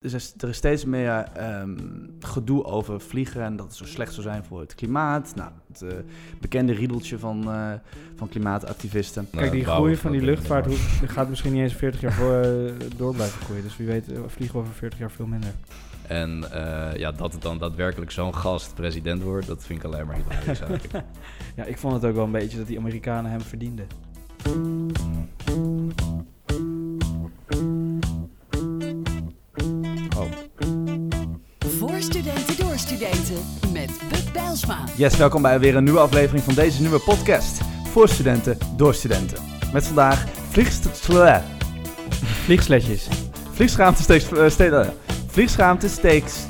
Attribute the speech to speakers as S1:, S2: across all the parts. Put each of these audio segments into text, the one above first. S1: Dus er is, er is steeds meer ehm, gedoe over vliegen en dat het zo slecht zou zijn voor het klimaat. Nou, het eh, bekende riedeltje van, eh, van klimaatactivisten.
S2: Kijk, die groei van die luchtvaart hoe- gaat misschien niet eens 40 jaar voor, eh, door blijven groeien. Dus wie weet eh, vliegen we over 40 jaar veel minder.
S3: En eh, ja, dat het dan daadwerkelijk zo'n gast president wordt, dat vind ik alleen maar hilarisch eigenlijk.
S2: Ja, ik vond het ook wel een beetje dat die Amerikanen hem verdienden.
S3: Oh,
S4: Voor studenten door studenten met Bub Bijlsma.
S1: Yes, welkom bij weer een nieuwe aflevering van deze nieuwe podcast. Voor studenten, door studenten. Met vandaag vliegst-
S2: Vliegsletjes.
S1: vliegschaamte steeds... eh, steeds eh, vliegschaamte steeds...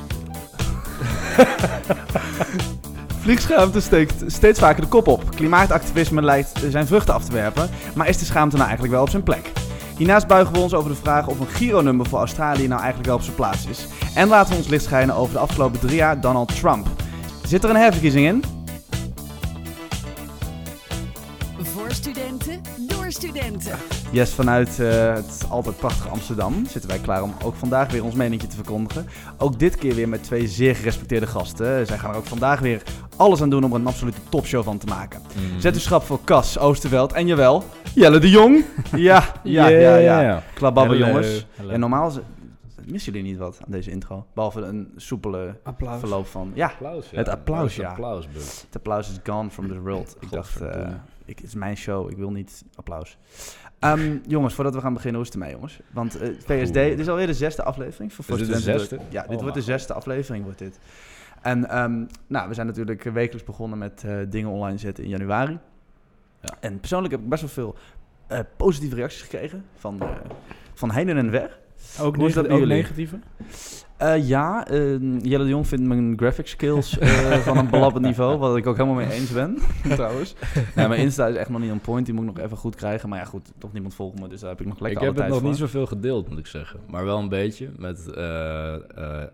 S1: Vliegschaamte steekt steeds vaker de kop op. Klimaatactivisme lijkt zijn vruchten af te werpen, maar is de schaamte nou eigenlijk wel op zijn plek? Hiernaast buigen we ons over de vraag of een Giro-nummer voor Australië nou eigenlijk wel op zijn plaats is. En laten we ons licht schijnen over de afgelopen drie jaar Donald Trump. Zit er een herverkiezing in?
S4: Voor studenten door studenten.
S1: Yes, vanuit eh, het altijd prachtige Amsterdam zitten wij klaar om ook vandaag weer ons meningje te verkondigen. Ook dit keer weer met twee zeer gerespecteerde gasten. Eh, Zij gaan er ook vandaag weer alles aan doen om er een absolute topshow van te maken.
S3: Mhm. Mm.
S1: Zetterschap voor Cas Oosterveld en jawel, Jelle de Jong. Ja, ja, ja, ja. Klababben
S3: Hello.
S1: jongens.
S3: Hello.
S1: En normaal is- missen jullie niet wat aan deze intro, behalve een soepele
S2: Applaus.
S1: verloop van... Ja,
S3: applaus, ja.
S1: Het applaus,
S3: Het
S1: ja.
S3: applaus, Bub.
S1: het applaus is gone from the world. Ik dacht, eh,
S3: Godverdomme.
S1: ik, het is mijn show, ik wil niet applaus. Ehm, jongens, voordat we gaan beginnen, hoe is het ermee, jongens? Want eh, PSD,
S3: Oeh.
S1: dit is alweer de zesde aflevering. Voor
S3: Is dit de
S1: Studenten
S3: zesde?
S1: Door- Ja, dit
S3: Oh,
S1: wordt de
S3: wauw.
S1: zesde aflevering, wordt dit. En ehm, nou, we zijn natuurlijk wekelijks begonnen met eh, dingen online zetten in januari.
S3: Ja.
S1: En persoonlijk heb ik best wel veel eh, positieve reacties gekregen van, eh van heen en weg.
S2: Ook,
S1: Hoe is dat
S2: neg-
S1: bij
S2: ook
S1: jullie?
S2: negatieve?
S1: Eh, ja, eh, Jelle de Jong vindt mijn graphic skills eh, van een belabbend niveau, wat ik ook helemaal mee eens ben, trouwens. Nee, mijn Insta is echt nog niet on point, die moet ik nog even goed krijgen. Maar ja, goed, toch niemand volgt me, dus daar heb ik nog
S3: Ik
S1: lekker
S3: heb
S1: alle
S3: het
S1: tijd
S3: nog
S1: voor.
S3: niet zoveel gedeeld, moet ik zeggen. Maar wel een beetje met eh, eh,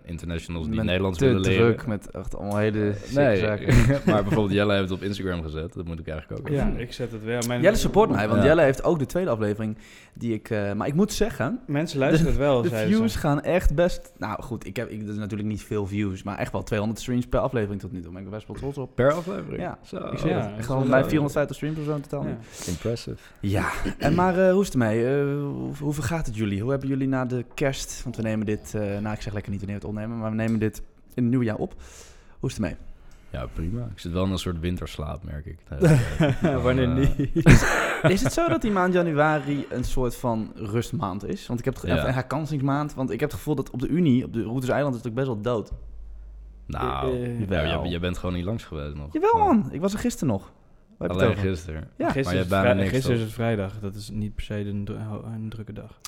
S3: internationals die
S1: Ik ben
S3: Nederlands
S1: te
S3: willen leren. Eh,
S1: druk met echt allemaal hele nee.
S3: nee,
S1: zaken.
S3: maar bijvoorbeeld Jelle heeft het op Instagram gezet. Dat moet ik eigenlijk ook.
S2: Ja,
S3: even doen.
S2: ik zet het wel. Mijn
S1: Jelle support mij, want
S3: Ja.
S1: Jelle heeft ook de tweede aflevering die ik... eh, maar ik moet zeggen,
S2: Mensen luisteren het wel,
S1: de
S2: zeiden
S1: views
S2: ze.
S1: gaan echt best... Nou goed, ik heb ik, dat is natuurlijk niet veel views, maar echt wel 200 streams per aflevering tot nu toe. Daar ben ik best wel trots op.
S3: Per aflevering?
S1: Ja.
S3: Zo.
S1: Ik zeg
S2: ja,
S1: het,
S2: dat
S1: echt
S2: is
S1: wel
S2: wel
S1: bij
S2: leuk.
S1: 450 streams of zo in totaal. nu.
S2: Ja.
S3: Impressive.
S1: Ja, en maar eh, hoe is het ermee? Eh, hoe, hoe vergaat het jullie? Hoe hebben jullie na de kerst, want we nemen dit, eh nou ik zeg lekker niet wanneer we het opnemen, maar we nemen dit in het nieuwe jaar op. Hoe is het ermee?
S3: Ja, prima. Ik zit wel in een soort winterslaap, merk ik. Nou,
S2: Wanneer niet?
S1: Is het zo dat die maand januari een soort van rustmaand is? Want ik heb het ge-
S3: Ja.
S1: en herkansingsmaand, want ik heb het gevoel dat op de Unie, op de Routers Eiland, is het ook best wel dood.
S3: Nou,
S2: Eh, eh,
S1: Jawel.
S3: nou, je, je bent gewoon niet langs geweest nog.
S1: Jawel man, ik was er gisteren nog. Waar heb je het
S3: Alleen
S1: over?
S3: gisteren.
S1: Ja.
S2: Gisteren,
S3: je
S2: is
S3: hebt
S2: het
S3: bijna
S2: vrij-
S3: niks,
S2: gisteren is
S3: toch?
S2: het vrijdag. Dat is niet per se een, dru- een drukke dag.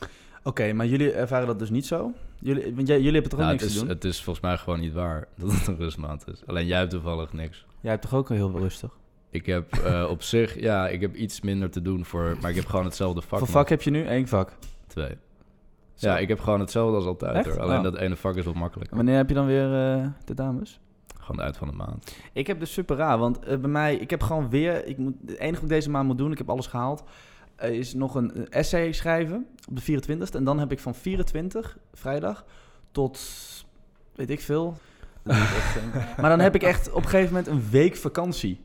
S1: Oké, maar jullie ervaren dat dus niet zo? Jullie, want jij, jullie hebben toch ook
S3: Nou, het,
S1: niks
S3: is,
S1: te doen?
S3: het is volgens mij gewoon niet waar dat het een rustmaand is. Alleen jij hebt toevallig niks.
S1: Jij hebt toch ook heel rustig?
S3: Ik heb eh, op zich, ja, ik heb iets minder te doen voor, maar ik heb gewoon hetzelfde vak.
S1: Voor
S3: nog.
S1: vak heb je nu één vak.
S3: Twee.
S1: Zo.
S3: Ja, ik heb gewoon hetzelfde als altijd
S1: Echt?
S3: hoor. Alleen
S1: Oh.
S3: dat ene vak is wat makkelijker.
S1: Wanneer heb je dan weer eh, de dames?
S3: Gewoon uit van de maand.
S1: Ik heb dus super raar, want eh, bij mij, ik heb gewoon weer, ik moet, het enige wat ik deze maand moet doen, ik heb alles gehaald, eh, is nog een eh, essay schrijven op de 24 En dan heb ik van 24, vrijdag, tot, weet ik veel. Dat is echt, eh, maar dan heb ik echt op een gegeven moment een week vakantie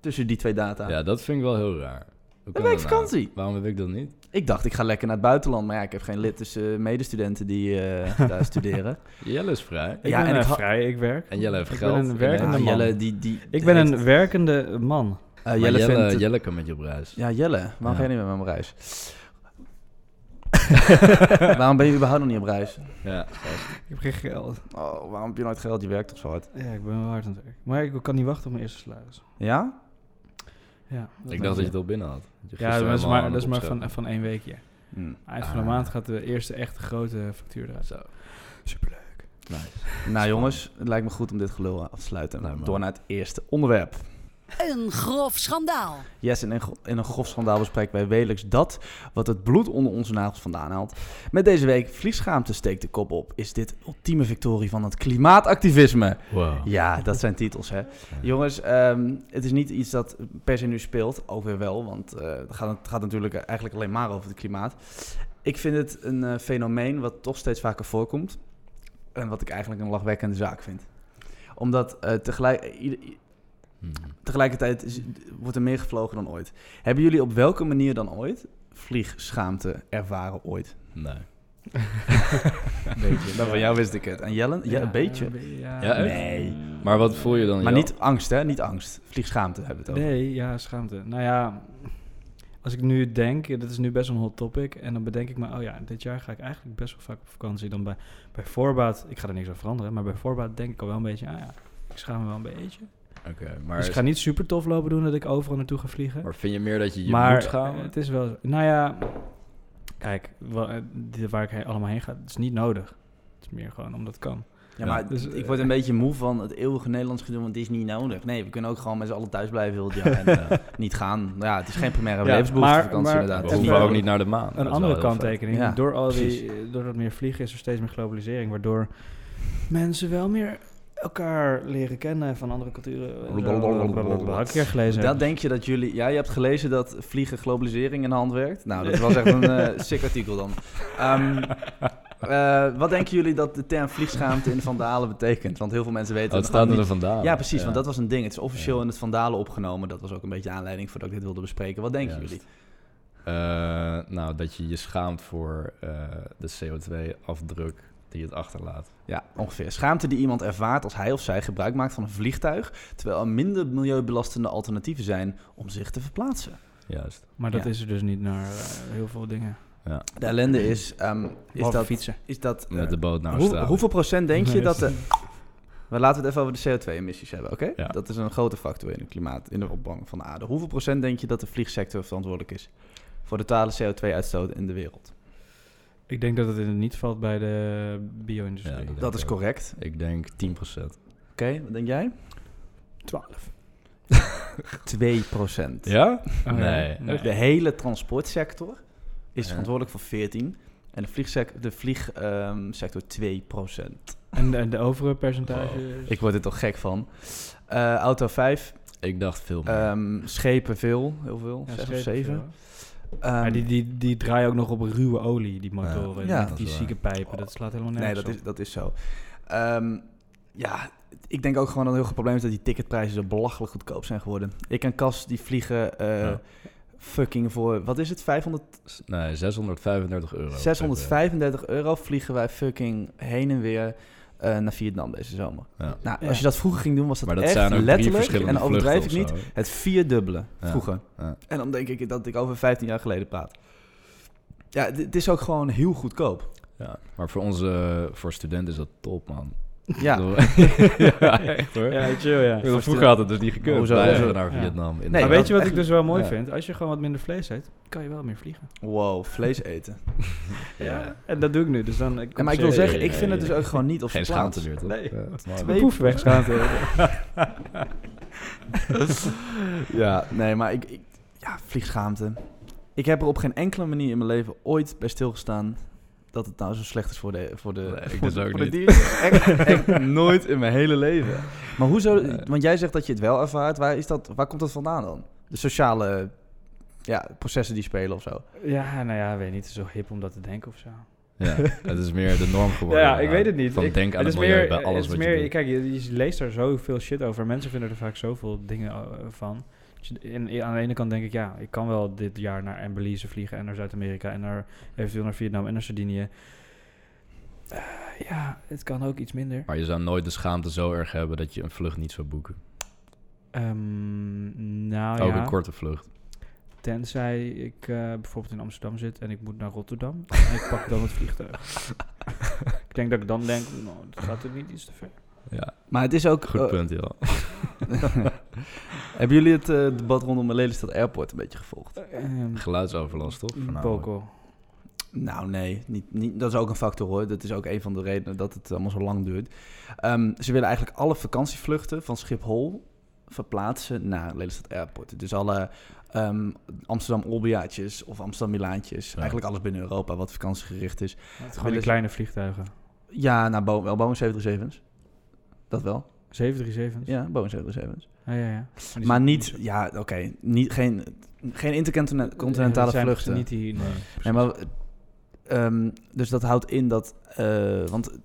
S1: tussen die twee data.
S3: Ja. dat vind ik wel heel raar. Hoe kan
S1: week
S3: dat nou?
S1: vakantie.
S3: Waarom heb ik dat niet?
S1: Ik dacht, ik ga lekker naar het buitenland, maar ja, ik heb geen lid, dus eh, medestudenten die eh, daar studeren.
S3: Jelle is vrij.
S2: Ik
S1: Ja,
S2: ben
S1: en ik
S2: eh,
S1: ha-
S2: vrij, ik werk.
S3: En Jelle heeft
S2: Ik ben
S3: geld.
S2: een
S3: En
S1: Ja,
S2: werkende
S3: hij-
S2: man.
S1: Jelle, die, die,
S2: Ik ben
S1: heeft-
S2: een werkende man.
S1: eh,
S3: Maar Jelle,
S1: Jelle,
S3: Jelle,
S1: vindt,
S3: kan met je op reis.
S1: Ja, Jelle, waarom
S3: Ja.
S1: ga je niet met me op reis? waarom ben je überhaupt nog niet op reis?
S3: Ja.
S2: Ik heb geen geld.
S1: Oh, waarom heb je nooit geld? Je werkt toch zo hard?
S2: Ja, ik ben wel hard aan het werk. Maar ik kan niet wachten op mijn eerste salaris.
S1: Ja?
S2: Ja,
S3: Ik dacht dat je het al binnen had. je
S2: Ja,
S3: gisteren
S2: dat is
S3: helemaal
S2: maar,
S3: aan
S2: dat is
S3: het
S2: maar
S3: opscheppen.
S2: van, van één weekje.
S1: Hm. Nou,
S2: Eind van de
S3: Ah.
S2: maand gaat de eerste echte grote factuur eruit.
S3: Zo.
S2: Superleuk.
S1: Nou jongens, het lijkt me goed om dit gelul af te sluiten.
S3: Lijkt me
S1: Door naar het eerste onderwerp.
S4: Een grof schandaal.
S1: Yes, in een, gro- in een grof schandaal bespreken wij wekelijks dat wat het bloed onder onze nagels vandaan haalt. Met deze week vliegschaamte steekt de kop op. Is dit ultieme victorie van het klimaatactivisme?
S3: Wow.
S1: Ja, dat zijn titels, hè. Jongens, ehm, het is niet iets dat per se nu speelt. Ook weer wel, want eh, het, gaat, het gaat natuurlijk eigenlijk alleen maar over het klimaat. Ik vind het een eh, fenomeen wat toch steeds vaker voorkomt. En wat ik eigenlijk een lachwekkende zaak vind. Omdat eh, tegelijk, ieder- i-
S3: Hmm.
S1: tegelijkertijd is- wordt er meer gevlogen dan ooit. Hebben jullie op welke manier dan ooit vliegschaamte ervaren ooit?
S3: Nee.
S2: Een beetje.
S1: Nou, van jou wist ik het. En Jellen? Ja, een beetje.
S2: Ja,
S3: Ja, echt?
S1: Nee.
S3: Maar wat voel je dan?
S1: Maar
S3: Jel?
S1: niet angst, hè? Niet angst. Vliegschaamte hebben we het over.
S2: Nee, ja, schaamte. Nou ja, als ik nu denk, dit is nu best een hot topic, en dan bedenk ik me, oh ja, dit jaar ga ik eigenlijk best wel vaak op vakantie. Dan bij, bij voorbaat, ik ga er niks aan veranderen, maar bij voorbaat denk ik al wel een beetje, ah ja, ik schaam me wel een beetje.
S3: Oké, maar,
S2: dus ik ga niet super tof lopen doen dat ik overal naartoe ga vliegen.
S3: maar vind je meer dat je je
S2: maar
S3: moet schamen?
S2: het is wel, nou ja, kijk, wa- eh, dit waar ik he- allemaal heen ga, het is niet nodig. Het is meer gewoon omdat het kan.
S1: Ja,
S3: Ja.
S1: maar
S2: Dus,
S1: ik word een beetje moe van het eeuwige Nederlands gedoe, want het is niet nodig. Nee, we kunnen ook gewoon met z'n allen thuis blijven heel het jaar en eh, niet gaan. Ja, het is geen primaire
S2: Ja,
S1: levensbehoefte
S2: maar-
S1: vakantie
S2: maar-
S1: inderdaad.
S3: We
S2: het is
S3: hoeven
S2: wel-
S3: ook niet naar de maan. Dat
S2: Een
S3: is
S2: andere
S3: wel heel vet.
S2: kanttekening.
S1: vet. Ja,
S2: door, al die, door dat meer vliegen is er steeds meer globalisering, waardoor mensen wel meer elkaar leren kennen van andere culturen. en zo.
S1: Blablabla.
S2: Had ik een keer gelezen.
S1: Dat denk je dat jullie... Ja, je hebt gelezen dat vliegen globalisering in de hand werkt. Nou, dat was echt een eh, sick artikel dan. Ehm, eh, wat denken jullie dat de term vliegschaamte in de Vandalen betekent? Want heel veel mensen weten
S3: Oh, het
S1: het gewoon
S3: staat er
S1: niet.
S3: vandaan.
S1: Ja, precies, want dat was een ding. Het is officieel
S3: Ja.
S1: in het Vandalen opgenomen. Dat was ook een beetje de aanleiding voordat ik dit wilde bespreken. Wat denken
S3: Juist.
S1: jullie?
S3: Eh, nou, dat je je schaamt voor eh, de CO2-afdruk die het achterlaat.
S1: Ja, ongeveer. Schaamte die iemand ervaart als hij of zij gebruik maakt van een vliegtuig, terwijl er minder milieubelastende alternatieven zijn om zich te verplaatsen.
S3: Juist.
S2: maar dat
S1: Ja.
S2: is er dus niet naar eh, heel veel dingen.
S1: De ellende is, ehm, is
S2: Behalve
S1: dat...
S2: fietsen.
S1: Is dat eh,
S3: Met de boot naar
S1: hoe-
S3: Australië.
S1: hoeveel procent denk je
S2: Nee,
S1: dat... De, we laten het even over de CO2-emissies hebben, oké?
S3: Ja.
S1: Dat is een grote factor in het klimaat, in de opwarming van de aarde. Hoeveel procent denk je dat de vliegsector verantwoordelijk is voor de totale CO2-uitstoot in de wereld?
S2: Ik denk dat het in niet valt bij de bio-industrie.
S3: Ja, dat-
S1: Dat is correct.
S3: Ik denk 10%.
S1: Oké, wat denk jij?
S2: 12.
S1: 2 procent.
S3: Ja?
S2: Oké.
S3: Nee.
S2: Oh Nee.
S1: De hele transportsector is
S3: Ja.
S1: verantwoordelijk voor 14 en de vliegsector de vlieg, ehm, sector 2%.
S2: En, en de overige percentage? is-
S1: Ik word er toch gek van. Eh, auto 5,
S3: Ik dacht veel meer.
S1: ehm, schepen veel, heel veel,
S2: Ja,
S1: 6 of
S2: schepen
S1: 7.
S2: veel. Maar die, die, die draaien ook nog op ruwe olie, die motoren.
S1: Ehm, Ja,
S2: Ja,
S3: dat
S2: die
S3: is waar.
S2: zieke pijpen, dat slaat helemaal
S1: nee,
S2: nergens
S1: dat
S2: op.
S1: is, dat is zo. Ehm, ja, ik denk ook gewoon dat een heel groot probleem is dat die ticketprijzen zo belachelijk goedkoop zijn geworden. Ik en Cas die vliegen eh,
S3: Ja.
S1: fucking voor, wat is het, 500
S3: S- Nee, 635 euro.
S1: 635 euro vliegen wij fucking heen en weer eh, naar Vietnam deze zomer.
S3: Ja.
S1: Nou,
S2: Ja.
S1: als je dat vroeger ging doen, was dat,
S3: Maar dat
S1: echt
S3: zijn ook drie
S1: letterlijk,
S3: verschillende
S1: en dan overdrijf ik
S3: vluchten
S1: niet,
S3: of zo.
S1: het vierdubbele
S3: Ja.
S1: vroeger.
S3: Ja.
S1: En dan denk ik dat ik over 15 jaar geleden praat. Ja, d- het is ook gewoon heel goedkoop.
S3: Ja. Maar voor onze, voor studenten is dat top, man.
S1: Ja,
S3: ja, echt hoor.
S2: Ja, chill, ja.
S3: Vroeger Verstel- had het dus niet gekund.
S1: Hoezo?
S3: Wij
S1: Hoezo?
S3: gaan naar
S2: Ja.
S3: Vietnam. in de
S1: Nee,
S2: maar
S1: dat
S2: weet je wat
S1: echt-
S2: ik dus wel mooi
S3: ja.
S2: vind? Als je gewoon wat minder vlees eet, kan je wel meer vliegen.
S1: wow, vlees eten.
S3: Ja.
S2: En dat doe ik nu, dus dan...
S1: Ja, maar ik wil
S3: serieus.
S1: zeggen, ik
S3: Ja,
S1: vind
S3: ja,
S1: het dus
S3: ja.
S1: ook gewoon niet op
S3: Geen
S1: zijn
S3: schaamte
S1: plaats.
S3: meer, toch?
S2: Nee.
S3: Ja, mooi.
S1: Twee-
S2: Poef weg, schaamte.
S1: Ja, nee, maar ik, ik- ja, vliegschaamte. Ik heb er op geen enkele manier in mijn leven ooit bij stilgestaan dat het nou zo slecht is voor de, voor de,
S3: Nee, ik
S1: voor,
S3: dus ook
S1: voor de
S3: niet.
S1: dieren. Echt, echt nooit in mijn hele leven. Maar hoezo,
S3: Nee.
S1: want jij zegt dat je het wel ervaart. Waar, is dat, waar komt dat vandaan dan? De sociale ja, processen die spelen of zo.
S2: Ja, nou ja, weet niet, het is zo hip om dat te denken of zo.
S3: Ja, het is meer de norm geworden.
S2: ja, ik
S3: inderdaad.
S2: weet het niet.
S3: Van
S2: ik,
S3: denk aan het,
S2: is
S3: milieu
S2: meer,
S3: bij alles
S2: het is
S3: wat
S2: meer,
S3: je doet.
S2: Kijk, je, je leest daar zoveel shit over. Mensen vinden er vaak zoveel dingen eh, van. Dus je- En aan de ene kant denk ik, ja, ik kan wel dit jaar naar en Belize vliegen en naar Zuid-Amerika en naar, eventueel naar Vietnam en naar Sardinië. Eh, ja, het kan ook iets minder.
S3: Maar je zou nooit de schaamte zo erg hebben dat je een vlucht niet zou boeken.
S2: Ehm, nou
S3: Ook
S2: ja.
S3: een korte vlucht.
S2: Tenzij ik eh, bijvoorbeeld in Amsterdam zit en ik moet naar Rotterdam. en ik pak dan het vliegtuig. ik denk dat ik dan denk, nou, dat gaat er niet iets te ver.
S3: Ja,
S1: Maar het is ook...
S3: goed
S1: eh,
S2: Oh.
S3: punt, joh.
S1: hebben jullie het eh, debat rondom de Lelystad Airport een beetje gevolgd?
S2: Ehm
S3: Geluidsoverlast, toch? nou, Voornamelijk.
S2: Boko.
S1: Nou, nee. Niet, niet, dat is ook een factor hoor. Dat is ook een van de redenen dat het allemaal zo lang duurt. Ehm, ze willen eigenlijk alle vakantievluchten van Schiphol verplaatsen naar Lelystad Airport. Dus alle ehm, Amsterdam-Olbiaatjes of Amsterdam-Milaantjes.
S3: Ja.
S1: Eigenlijk alles binnen Europa wat vakantiegericht is.
S2: Het
S1: gewoon
S2: gewoon
S1: die
S2: kleine vliegtuigen.
S1: Ja, nou, Bo wel Boeing 737's. Dat wel.
S2: 737?
S1: Ja, Boeing 737's.
S2: Ja, ja, ja.
S1: Maar niet, ja, oké. niet- Geen, geen intercontinentale vluchten.
S2: Eh, Niet die,
S3: Nee.
S1: Nee, maar, ehm, dus dat houdt in dat. eh, want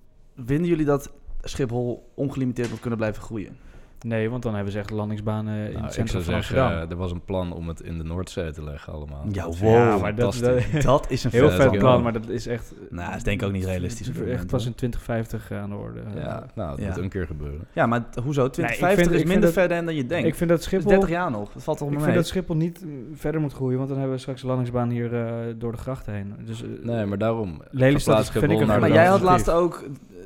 S1: Vinden jullie dat Schiphol ongelimiteerd moet kunnen blijven groeien?
S2: Nee, want dan hebben ze echt landingsbanen in
S3: Nou,
S2: het
S3: ik
S2: centrum
S3: zou
S2: van
S3: zeggen,
S2: Amsterdam.
S3: eh, er was een plan om het in de Noordzee te leggen allemaal.
S1: Ja,
S3: Dat-
S1: wow.
S2: ja, maar dat, dat,
S3: eh, fantastisch.
S1: Dat is een
S2: heel
S3: vet
S2: vet
S3: plan.
S2: plan, maar dat is echt...
S1: Nou, dat is denk ik ook niet realistisch op dit
S2: Echt
S1: moment,
S2: pas
S1: hoor.
S2: in 2050 aan de orde.
S3: Ja, nou, het
S1: Ja.
S3: moet een keer gebeuren.
S1: Ja, maar t- hoezo?
S2: Nee, ik
S1: 2050
S2: vind- ik
S1: is
S2: vind
S1: minder
S2: dat-
S1: ver dan je denkt.
S2: Ik vind dat
S1: Dus
S2: Schiphol...
S1: 30 jaar nog. Dat valt toch
S2: Ik
S1: nog
S2: vind
S1: mee?
S2: dat Schiphol niet mm, verder moet groeien, want dan hebben we straks een landingsbaan hier eh, door de grachten heen. Dus, eh,
S3: Nee, maar daarom.
S2: Lelystad
S3: verplaats
S2: is- vind
S3: Schiphol
S2: ik een
S3: naar
S1: Maar
S2: verhaal.
S1: jij
S3: de-
S1: had
S2: alternatief.
S1: laatst ook... eh,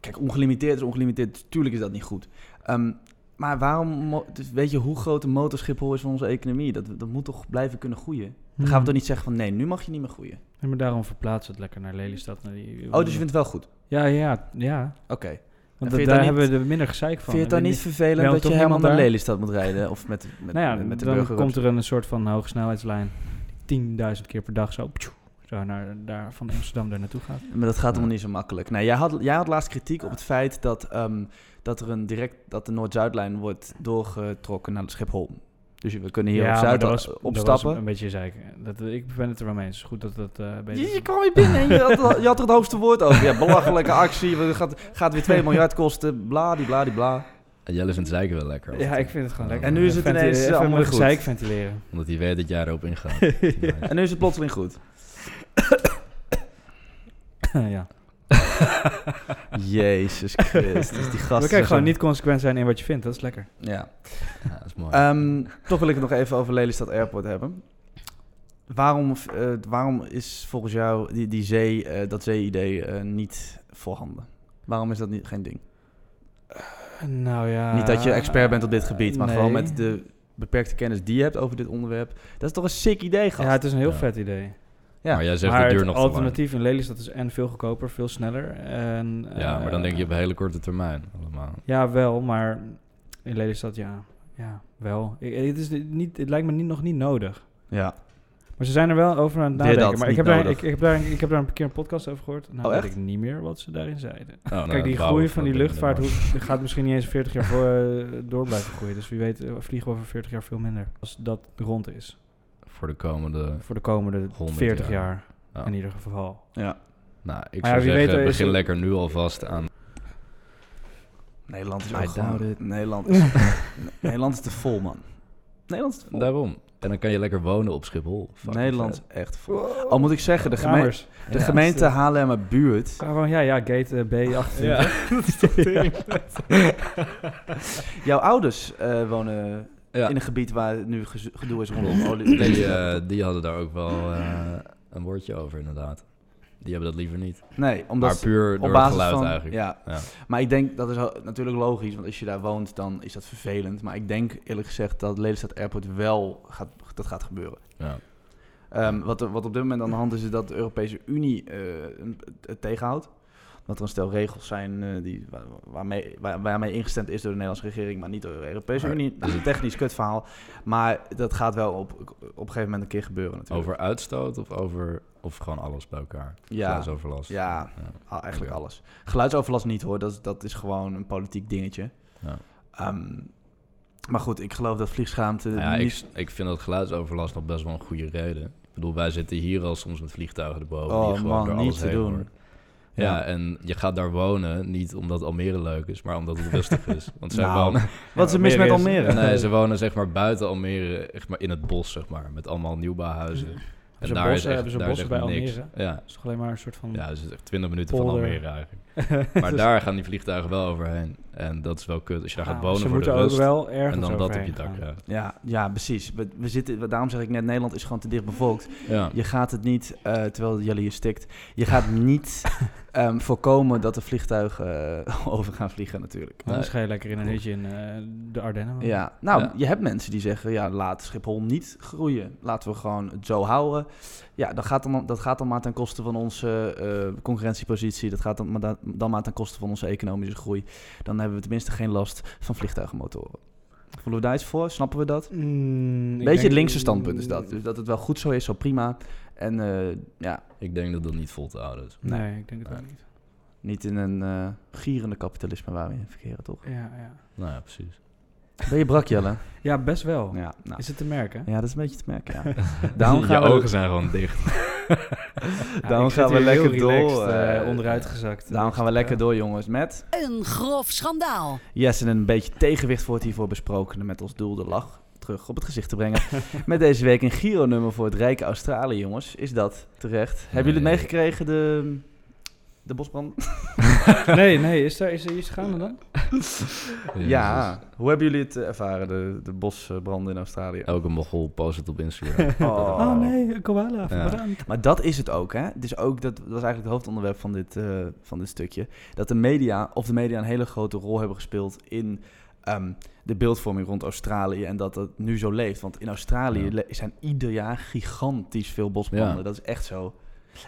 S1: Kijk, ongelimiteerd is ongelimiteerd. Tuurlijk is dat niet goed. Ehm, maar waarom... mo- dus weet je hoe groot de motor Schiphol is voor onze economie? Dat, dat moet toch blijven kunnen groeien? Dan
S2: Hmm.
S1: gaan we toch niet zeggen van... Nee, nu mag je niet meer groeien.
S2: Nee, maar daarom verplaatsen we het lekker naar Lelystad. Naar die,
S1: Oh, dus je vindt het wel goed?
S2: Ja, ja, ja.
S1: Oké.
S2: Want
S1: vind je het
S2: daar
S1: dan niet-
S2: hebben we er minder gezeik van.
S1: Vind je het dan
S2: En
S1: niet
S2: die-
S1: vervelend
S2: want
S1: dat je
S2: toch
S1: helemaal
S2: niemand
S1: naar
S2: daar?
S1: Lelystad moet rijden? Of met, met,
S2: nou ja,
S1: met de
S2: dan
S1: burger?
S2: komt er een soort van hogesnelheidslijn. 10.000 keer per dag zo, ptjoe, zo naar, daar, van Amsterdam daar naartoe gaat.
S1: Maar dat gaat allemaal niet zo makkelijk. Nou, jij, had, jij had laatst kritiek op het feit dat, ehm, dat, er een direct, dat de Noord-Zuidlijn wordt doorgetrokken naar Schiphol. Dus we kunnen hier
S2: ja,
S1: op
S2: maar
S1: Zuid
S2: dat was- dat was
S1: opstappen.
S2: een- een beetje zeik. Dat, ik ben het er wel mee eens. Het is Goed dat dat eh beter
S1: Je, je
S2: is.
S1: kwam hier binnen en je had, er- je had er het hoogste woord over. Ja, belachelijke actie, we- gaat, gaat weer 2 miljard kosten, bla, die, bla, die, bla.
S3: En Jelle vindt zeiken wel lekker.
S2: Ja, ik vind het gewoon lekker.
S1: En nu is het
S2: Venti-
S1: ineens
S2: even
S1: allemaal
S2: mooi
S1: goed.
S2: gezeik ventileren.
S3: Omdat hij weet dat jij erop ingaat.
S1: En nu is het plotseling goed.
S2: ja.
S1: Jezus Christus, die
S2: We
S1: gasten.
S2: kunnen
S1: zijn-
S2: gewoon niet consequent zijn in wat je vindt. Dat is lekker.
S1: Ja.
S3: Ja, dat is mooi.
S1: Ehm, toch wil ik het nog even over Lelystad Airport hebben. Waarom, eh, waarom is volgens jou die, die zee, eh, dat zee-idee eh, niet voorhanden? Waarom is dat niet, geen ding?
S2: Nou ja.
S1: niet dat je expert bent op dit gebied, maar
S2: nee.
S1: gewoon met de beperkte kennis die je hebt over dit onderwerp. Dat is toch een sick idee, gast?
S2: Ja, het is een heel
S3: Ja.
S2: vet idee.
S1: ja.
S3: Maar jij zegt
S2: maar
S3: het duurt
S2: het
S3: nog te lang.
S2: alternatief in Lelystad is en veel goedkoper, veel sneller. En,
S3: Ja, maar dan
S2: eh,
S3: denk je op hele korte termijn allemaal.
S2: Ja, wel, maar in Lelystad, ja. Ja, wel. Ik- het, is niet, het lijkt me niet, nog niet nodig.
S1: ja.
S2: Maar ze zijn er wel over aan het
S1: Weer
S2: nadenken.
S1: dat,
S2: maar ik
S1: niet
S2: heb, daar,
S1: nodig.
S2: ik, ik heb daar, ik heb daar een keer een podcast over gehoord. Nou
S1: Oh,
S2: weet
S1: echt?
S2: ik niet meer wat ze daarin zeiden.
S3: Nou,
S2: Kijk,
S3: nou,
S2: die
S3: bouwen
S2: groei
S3: we
S2: van die
S3: voor de
S2: luchtvaart
S3: Noord.
S2: hoeft- gaat misschien niet eens 40 jaar voor, eh, door blijven groeien. Dus wie weet eh, vliegen we over 40 jaar veel minder. Als dat rond is.
S3: Voor de komende...
S2: Voor de komende
S3: 100
S2: 40
S3: jaar.
S2: jaar,
S3: Ja.
S2: in ieder geval.
S3: Nou, ik
S2: Maar
S3: zou
S2: ja, wie weet,
S3: zeggen,
S2: eh, is
S3: begin
S2: het-
S3: lekker nu alvast aan...
S1: Nederland is
S3: I
S1: ook
S3: doubt
S1: gewoon...
S3: it.
S1: Nederland is, Nederland is te vol, man. Nederland is te vol.
S3: Daarom. En dan kan je lekker wonen op Schiphol. Fucking
S1: Nederland
S3: vet.
S1: is echt vol. Al moet ik zeggen, de, geme-
S2: Kamers.
S1: de
S3: Ja.
S1: gemeente Haarlemmerbuurt...
S2: Waar woon jij? Ja, gate eh, B8.
S3: Ja, dat is toch
S1: Jouw ouders eh, wonen
S3: Ja.
S1: in een gebied waar nu gezo- gedoe is rondom
S3: Klopt.
S1: olie.
S3: Die, eh, die hadden daar ook wel eh, een woordje over, inderdaad. Die hebben dat liever niet.
S1: nee,
S3: Maar
S1: omdat
S3: puur door
S1: op
S3: het
S1: basis
S3: geluid
S1: van
S3: eigenlijk.
S1: Ja.
S3: Ja.
S1: maar ik denk dat is al- natuurlijk logisch, want als je daar woont, dan is dat vervelend. Maar ik denk eerlijk gezegd dat Lelystad Airport wel gaat, dat gaat gebeuren.
S3: Ja.
S1: Ehm, wat, er- wat op dit moment aan de hand is, is dat de Europese Unie eh, een- het tegenhoudt. Dat er een stel regels zijn eh, die, waar- waarmee, waar- waarmee ingestemd is door de Nederlandse regering, maar niet door de Europese
S3: Maar-
S1: Unie. Dat is een technisch kutverhaal. Maar dat gaat wel op, op een gegeven moment een keer gebeuren natuurlijk.
S3: Over uitstoot of over... Of gewoon alles bij elkaar?
S1: Ja.
S3: Geluidsoverlast.
S1: Ja,
S3: Ja.
S1: al- eigenlijk
S3: Ja.
S1: alles. Geluidsoverlast niet hoor, dat is, dat is gewoon een politiek dingetje.
S3: Ja.
S1: Ehm, maar goed, ik geloof dat vliegschaamte
S3: Nou ja,
S1: niet...
S3: ik, ik vind dat geluidsoverlast nog best wel een goede reden. Ik bedoel, wij zitten hier al soms met vliegtuigen erboven. die
S1: oh
S3: gewoon door
S1: man,
S3: alles
S1: niet te
S3: heen
S1: doen.
S3: horen. Ja. en je gaat daar wonen niet omdat Almere leuk is, maar omdat het rustig is. Want zij
S1: Nou,
S3: wonen...
S1: Wat is er mis met
S2: Almere is-
S1: Almere?
S3: Nee, ze wonen zeg maar buiten Almere, echt maar in het bos zeg maar, met allemaal nieuwbouwhuizen. En
S2: ze
S3: daar
S2: bossen?
S3: is echt,
S2: Hebben ze
S3: daar is echt
S2: bossen bij
S3: niks.
S2: Almere?
S3: Ja,
S2: is toch alleen maar een soort van...
S3: ja, dus het is echt 20 minuten van
S2: Polder.
S3: Almere eigenlijk. Maar daar gaan die vliegtuigen wel overheen. En dat is wel kut. Als je daar gaat
S2: Ah,
S3: wonen
S2: Ze
S3: voor de
S2: moeten ook
S3: rust
S2: wel ergens
S3: en dan dat op je
S2: overheen
S3: dak.
S2: gaan.
S3: Ja.
S1: Ja, ja, precies. We, we zitten, daarom zeg ik net, Nederland is gewoon te dicht bevolkt.
S3: Ja.
S1: Je gaat het niet, eh, terwijl jullie hier stikt, je gaat niet ehm, voorkomen dat de vliegtuigen eh, over gaan vliegen natuurlijk. Dus,
S2: Anders ga je lekker in een hutje in eh, de Ardennen. wonen.
S1: Ja, nou,
S3: Ja.
S1: je hebt mensen die zeggen, ja, laat Schiphol niet groeien. Laten we gewoon het zo houden. Ja, dat gaat dan, dat gaat dan maar ten koste van onze eh, concurrentiepositie. Dat gaat dan maar, da- dan maar ten koste van onze economische groei. Dan hebben we tenminste geen last van vliegtuigenmotoren. Voelen we daar iets voor? Snappen we dat?
S2: Mm, ik
S1: Een beetje
S2: denk-
S1: het linkse standpunt is dat. Dus dat het wel goed zo is, zo prima. En eh, ja,
S3: Ik denk dat dat niet vol te houden is.
S2: Nee, ik denk het ook
S3: Nee.
S2: niet.
S1: niet in een eh, gierende kapitalisme waar we in verkeren, toch?
S2: Ja, ja.
S3: Nou ja, precies.
S1: Ben je brak, Jelle?
S2: ja best wel.
S1: Ja, nou.
S2: Is het te merken?
S1: ja, dat is een beetje te merken, ja.
S3: Daarom
S1: Daarom
S3: je
S1: gaan we-
S3: ogen zijn gewoon dicht.
S2: Ja,
S1: Daarom
S2: ik zit
S1: gaan we
S2: hier
S1: lekker
S2: heel relaxed,
S1: door,
S2: eh,
S1: eh,
S2: onderuitgezakt.
S1: Daarom gaan we lekker door, jongens. Met
S4: Een grof schandaal.
S1: Yes en een beetje tegenwicht voor het hiervoor besprokene. Met ons doel de lach terug op het gezicht te brengen. met deze week een Giro-nummer voor het rijke Australië, jongens. Is dat terecht? Hebben jullie het
S3: Nee.
S1: meegekregen, de, de bosbrand?
S2: Nee, nee, is daar is er iets gaande dan?
S1: Ja. Hoe hebben jullie het eh, ervaren, de, de bosbranden in Australië?
S3: Elke mogol post het op Instagram.
S1: Oh.
S2: Oh, nee, een koala. verbrand.
S1: Maar dat is het ook, hè? Dus ook, dat was eigenlijk het hoofdonderwerp van dit, eh, van dit stukje. Dat de media, of de media, een hele grote rol hebben gespeeld in ehm, de beeldvorming rond Australië. En dat dat nu zo leeft. Want in Australië
S3: Ja.
S1: le- zijn ieder jaar gigantisch veel bosbranden.
S3: Ja.
S1: Dat is echt zo.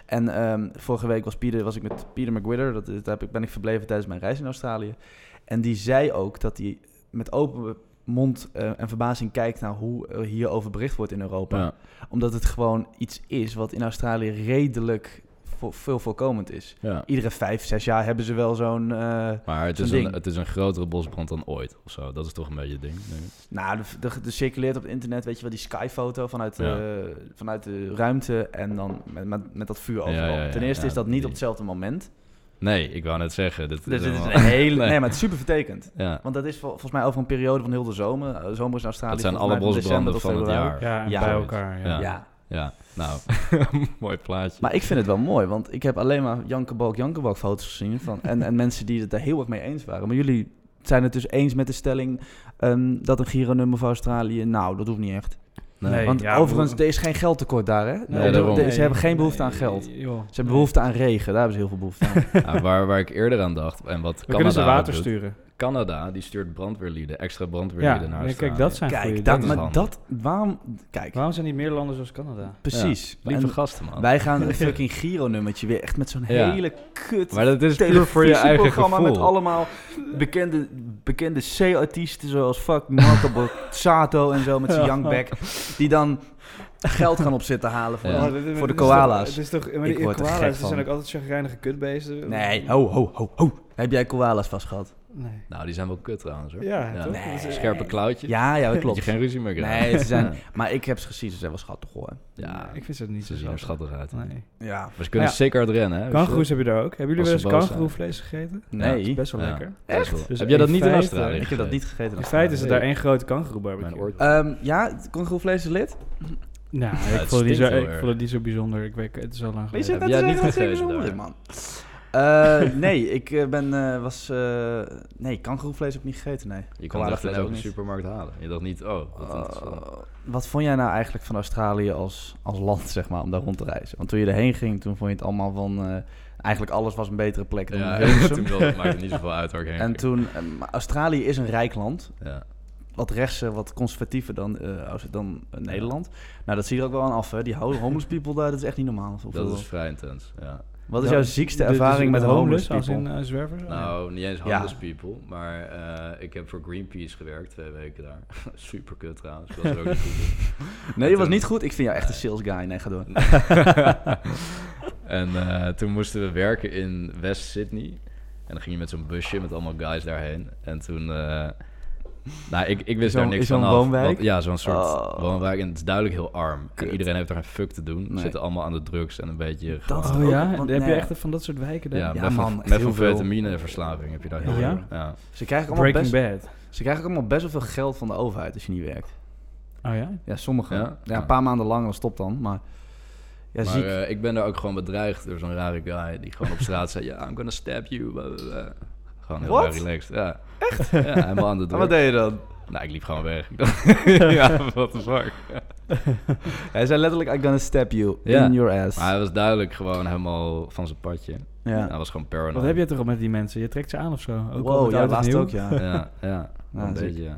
S1: En ehm, vorige week was, Pieter, was ik met Peter McGuider. Dat, is- daar heb ik- ben ik verbleven tijdens mijn reis in Australië. En die zei ook dat hij met open mond eh, en verbazing kijkt naar hoe er hierover bericht wordt in Europa
S3: Ja.
S1: omdat het gewoon iets is wat in Australië redelijk vo- veel voorkomend is.
S3: ja.
S1: Iedere vijf, zes jaar hebben ze wel zo'n... eh,
S3: Maar het
S1: Zo'n
S3: is,
S1: ding.
S3: een, het is een grotere bosbrand dan ooit of zo. Dat is toch een beetje het ding. denk ik.
S1: nou, er- er er circuleert op het internet, weet je wel, die skyfoto vanuit,
S3: Ja.
S1: eh, vanuit de ruimte... en dan met, met, met dat vuur overal.
S3: Ja, ja, ja,
S1: Ten eerste
S3: ja,
S1: is dat niet
S3: die-
S1: op hetzelfde moment.
S3: Nee, ik wou net zeggen. Dit
S1: Dus dit is
S3: helemaal-
S1: een hele... Nee,
S3: Nee.
S1: maar Nou, het is super vertekend.
S3: Ja.
S1: Want dat is vol- volgens mij over een periode van heel de zomer. Eh, zomer is in Australië...
S3: Dat zijn alle
S1: volgens mij van
S3: bosbranden van
S1: december
S3: het
S1: tot februari.
S3: jaar.
S2: Ja, en
S1: Ja.
S2: bij elkaar. Ja.
S3: Ja.
S1: ja.
S3: Ja, nou, mooi plaatje.
S1: Maar ik vind het wel mooi, want ik heb alleen maar Janke Balk, Janke Balk foto's gezien. Van, en, en mensen die het daar heel erg mee eens waren. Maar jullie zijn het dus eens met de stelling ehm, dat een Giro-nummer voor Australië... Nou, dat hoeft niet echt.
S2: Nee,
S1: want
S2: ja,
S1: overigens,
S2: hoe-
S1: er is geen geldtekort daar, hè?
S3: Nee, daarom.
S1: ze hebben geen behoefte aan geld. Ze hebben behoefte aan regen, daar hebben ze heel veel behoefte aan.
S3: Ja, Nou, waar, waar ik eerder aan dacht, en wat
S2: We
S3: Canada
S2: kunnen ze water
S1: dus.
S3: doet-
S2: sturen.
S3: Canada, die stuurt brandweerlieden, extra
S2: Ja,
S3: brandweerlieden naar
S2: nee,
S3: Australië.
S2: kijk, dat zijn goeie
S1: Kijk,
S2: dingen.
S1: dat,
S3: is
S1: maar
S3: handig.
S1: dat... Waarom... Kijk,
S2: Waarom zijn niet meer landen zoals Canada?
S1: precies.
S3: Lieve
S1: En
S3: gasten, man.
S1: wij gaan een fucking Giro-nummertje weer echt met zo'n
S3: Ja.
S1: hele kut...
S3: maar dat is puur Dus voor je eigen
S1: televisieprogramma
S3: gevoel.
S1: met allemaal bekende, bekende C-artiesten zoals fuck Marco Borsato en zo met zijn
S2: Ja.
S1: youngback. Die dan geld gaan op zitten halen. Voor
S3: Ja.
S2: Oh, dit-
S1: Voor de
S2: dit is toch-
S1: koala's.
S2: Het is toch, maar
S1: Ik
S2: die
S1: word er
S2: koala's
S1: gek
S2: die
S1: van.
S2: zijn ook altijd chagrijnige kutbeesten.
S1: Nee, ho, ho, ho, ho. Heb jij koala's vast gehad?
S2: Nee.
S3: Nou, die zijn wel kut trouwens, hoor.
S2: Ja,
S3: Ja.
S2: toch?
S1: Nee.
S2: Dat is- eh,
S3: Scherpe klauwtjes.
S1: Dus, eh, Ja, ja, dat
S3: Dat je
S1: klopt.
S3: geen ruzie meer krijgt.
S1: Nee, ze zijn,
S3: Ja.
S1: maar ik heb ze gezien. Ze zijn wel schattig hoor.
S3: Ja,
S2: Ik vind ze niet
S3: ze
S2: zo
S3: zien er
S2: schattig.
S3: schattig uit. hè.
S2: Nee.
S1: Nou Ja.
S3: Maar ze kunnen
S2: Ja.
S3: zeker hard rennen, hè.
S2: Kangoeroes heb je daar ook. Hebben jullie wel
S3: Als
S2: eens
S3: ze boos
S2: kangoeroevlees gegeten?
S1: Nee.
S2: Dat is best wel
S3: Ja.
S2: lekker.
S3: Echt?
S2: Dus
S3: heb jij dat
S2: in
S3: niet in
S2: feite-
S3: Australië?
S1: Ik heb dat
S3: gegeten?
S1: niet gegeten.
S2: In feite is er
S3: Nee.
S2: daar één grote kangoeroebarbecue.
S3: Mijn oor...
S1: Ehm, ja, kangeroevlees is lid.
S2: Nou,
S3: het
S2: ik, vond het niet zo,
S3: stinkt wel
S2: ik
S3: erg.
S2: vond het niet zo bijzonder. Ik weet, het is al lang
S1: Weet
S2: geleden.
S1: je
S3: Heb
S1: dat
S3: jij
S1: is nou- echt
S3: niet
S1: hartstikke
S3: gegeten
S1: bijzonder,
S3: daar?
S1: man? Eh, nee, ik eh, ben, eh, was, eh, nee, kangeroevlees heb ik niet gegeten, nee.
S3: Je kon
S1: Koala
S3: het echt in
S1: vlees ook
S3: elke
S1: niet.
S3: supermarkt halen. Je dacht niet, oh, wat interessant.
S1: Eh, wat vond jij nou eigenlijk van Australië als, als land, zeg maar, om daar rond te reizen? Want toen je erheen ging, toen vond je het allemaal van... eh, eigenlijk alles was een betere plek dan
S3: Ja,
S1: Hilversum.
S3: toen wel, dat maakt niet zoveel uit waar ik heen
S1: En
S3: ging.
S1: toen... eh, maar Australië is een rijk land.
S3: Ja.
S1: Wat rechtser, wat conservatiever dan, eh, als- dan eh, Nederland. Nou, dat zie je er ook wel aan af, hè. Die ho- homeless people daar, dat is echt niet normaal. Hoeveel-
S3: Dat is vrij intens, ja.
S1: Wat is
S2: Ja,
S1: jouw ziekste
S2: Dus- dus
S1: ervaring met homeless,
S2: als
S1: people?
S2: in eh, zwervers?
S3: Nou, niet eens
S1: Ja.
S3: homeless people, maar eh, ik heb voor Greenpeace gewerkt, twee weken daar. Super kut trouwens, ik was er ook niet goed in.
S2: eh,
S1: Nee, je was
S3: toen-
S1: niet goed. Ik vind jou echt een sales guy. Nee, ga door.
S3: en eh, toen moesten we werken in West Sydney. En dan ging je met zo'n busje met allemaal guys daarheen. En toen... eh, nou, ik, ik wist
S1: Zo'n-
S3: daar niks
S1: is zo'n
S3: van af.
S1: woonwijk?
S3: Want- ja, zo'n soort
S1: Oh.
S3: woonwijk. En het is duidelijk heel arm.
S1: Kut.
S3: En iedereen heeft er geen fuck te doen. Ze
S1: Nee.
S3: zitten allemaal aan de drugs en een beetje...
S1: Dat
S3: gewoon-
S2: Oh ja,
S1: ook, want-
S2: heb
S1: nee.
S2: je echt van dat soort wijken daar?
S3: ja,
S1: Ja,
S3: met
S1: man, echt
S3: met
S1: heel veel.
S3: vitamine verslaving heb je daar heel
S2: Ja?
S3: erg. Ja.
S1: Ze krijgen, allemaal
S2: Breaking
S1: best,
S2: Bad.
S1: ze krijgen ook allemaal best wel veel geld van de overheid als je niet werkt.
S2: Oh ja?
S1: Ja, sommigen. Ja,
S3: Ja?
S1: een paar maanden lang, dan stopt dan. Maar ja,
S3: maar
S1: ziek.
S3: eh, ik ben daar ook gewoon bedreigd door zo'n rare guy die gewoon op straat zei: Ja, I'm gonna stab you. blah, blah, blah." Gewoon heel
S1: What?
S3: relaxed. Ja. Echt? Ja, helemaal aan de
S1: En
S3: druk.
S1: wat deed je dan?
S3: Nou, ik liep gewoon weg. Ik dacht, ja, what the fuck.
S1: Hij zei letterlijk, I'm gonna stab you
S3: Ja.
S1: in your ass.
S3: Maar hij was duidelijk gewoon helemaal van zijn padje. Hij
S1: ja.
S3: was gewoon paranoid.
S2: Wat heb je toch al met die mensen? Je trekt ze aan of zo? Ook al
S1: wow,
S2: met
S1: ja,
S2: oud en
S1: laatst
S2: nieuw?
S1: ook, ja.
S3: Ja, ja.
S1: Ja,
S3: een
S1: Ah, ziek.
S3: beetje, ja.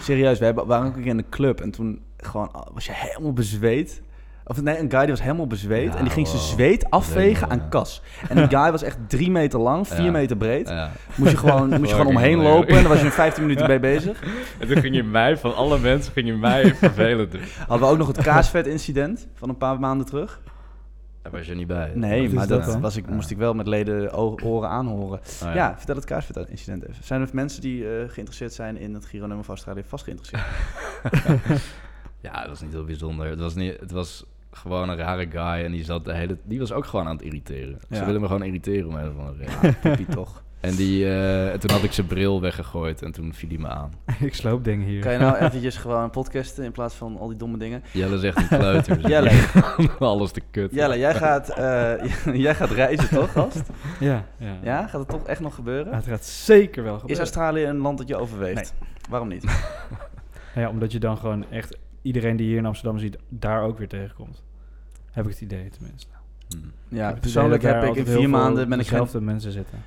S1: Serieus, we hebben- waren ook een keer in de club en toen gewoon, oh, was je helemaal bezweet. Of nee, een guy die was helemaal bezweet
S3: Ja,
S1: en die ging zijn
S3: wow.
S1: zweet afvegen
S3: Helemaal,
S1: aan
S3: ja.
S1: kas. En die guy was echt drie meter lang, vier
S3: Ja.
S1: meter breed.
S3: ja.
S1: Moest je gewoon, moest je gewoon
S3: Fucking
S1: omheen
S3: hell,
S1: lopen
S3: joh.
S1: en daar was je in 15 minuten mee bezig.
S3: En toen ging je mij, van alle mensen, ging je mij vervelend doen.
S1: Hadden we ook nog het kaasvet-incident van een paar maanden terug?
S3: Daar was je niet bij.
S1: Nee,
S2: Wat is
S1: maar
S2: dat
S1: dat,
S2: dan?
S1: was ik,
S3: Ja.
S1: moest ik wel met leden o- oren aanhoren.
S3: Oh,
S1: Ja. vertel het kaasvet-incident even. Zijn er mensen die eh, geïnteresseerd zijn in het Giro-nummer van Australië vast geïnteresseerd?
S3: Ja, het was niet heel bijzonder. Het was, niet, het was gewoon een rare guy en die zat de hele... Die was ook gewoon aan het irriteren.
S2: Ja.
S3: Ze willen me gewoon irriteren om een of andere reden.
S1: Poepie toch.
S3: En die, eh, en toen had ik zijn bril weggegooid en toen viel hij me aan.
S2: ik sloop dingen hier.
S1: Kan je nou eventjes gewoon podcasten in plaats van al die domme dingen?
S3: Jelle zegt een kleuter. dus
S1: Jelle.
S3: die- Alles te kut.
S1: Jelle, jij gaat, eh, jij gaat reizen toch, gast?
S2: Ja, ja.
S1: Ja? Gaat het toch echt nog gebeuren?
S2: Ja, Het gaat zeker wel
S1: Is
S2: gebeuren.
S1: Australië een land dat je overweegt? Waarom niet?
S2: Nou ja, omdat je dan gewoon echt iedereen die hier in Amsterdam ziet, daar ook weer tegenkomt. Heb ik het idee tenminste.
S3: Hm.
S1: Ja,
S2: het idee
S1: persoonlijk
S2: dat daar
S1: heb ik in
S2: altijd heel
S1: vier
S2: veel
S1: maanden ben ik geen
S2: dezelfde mensen zitten.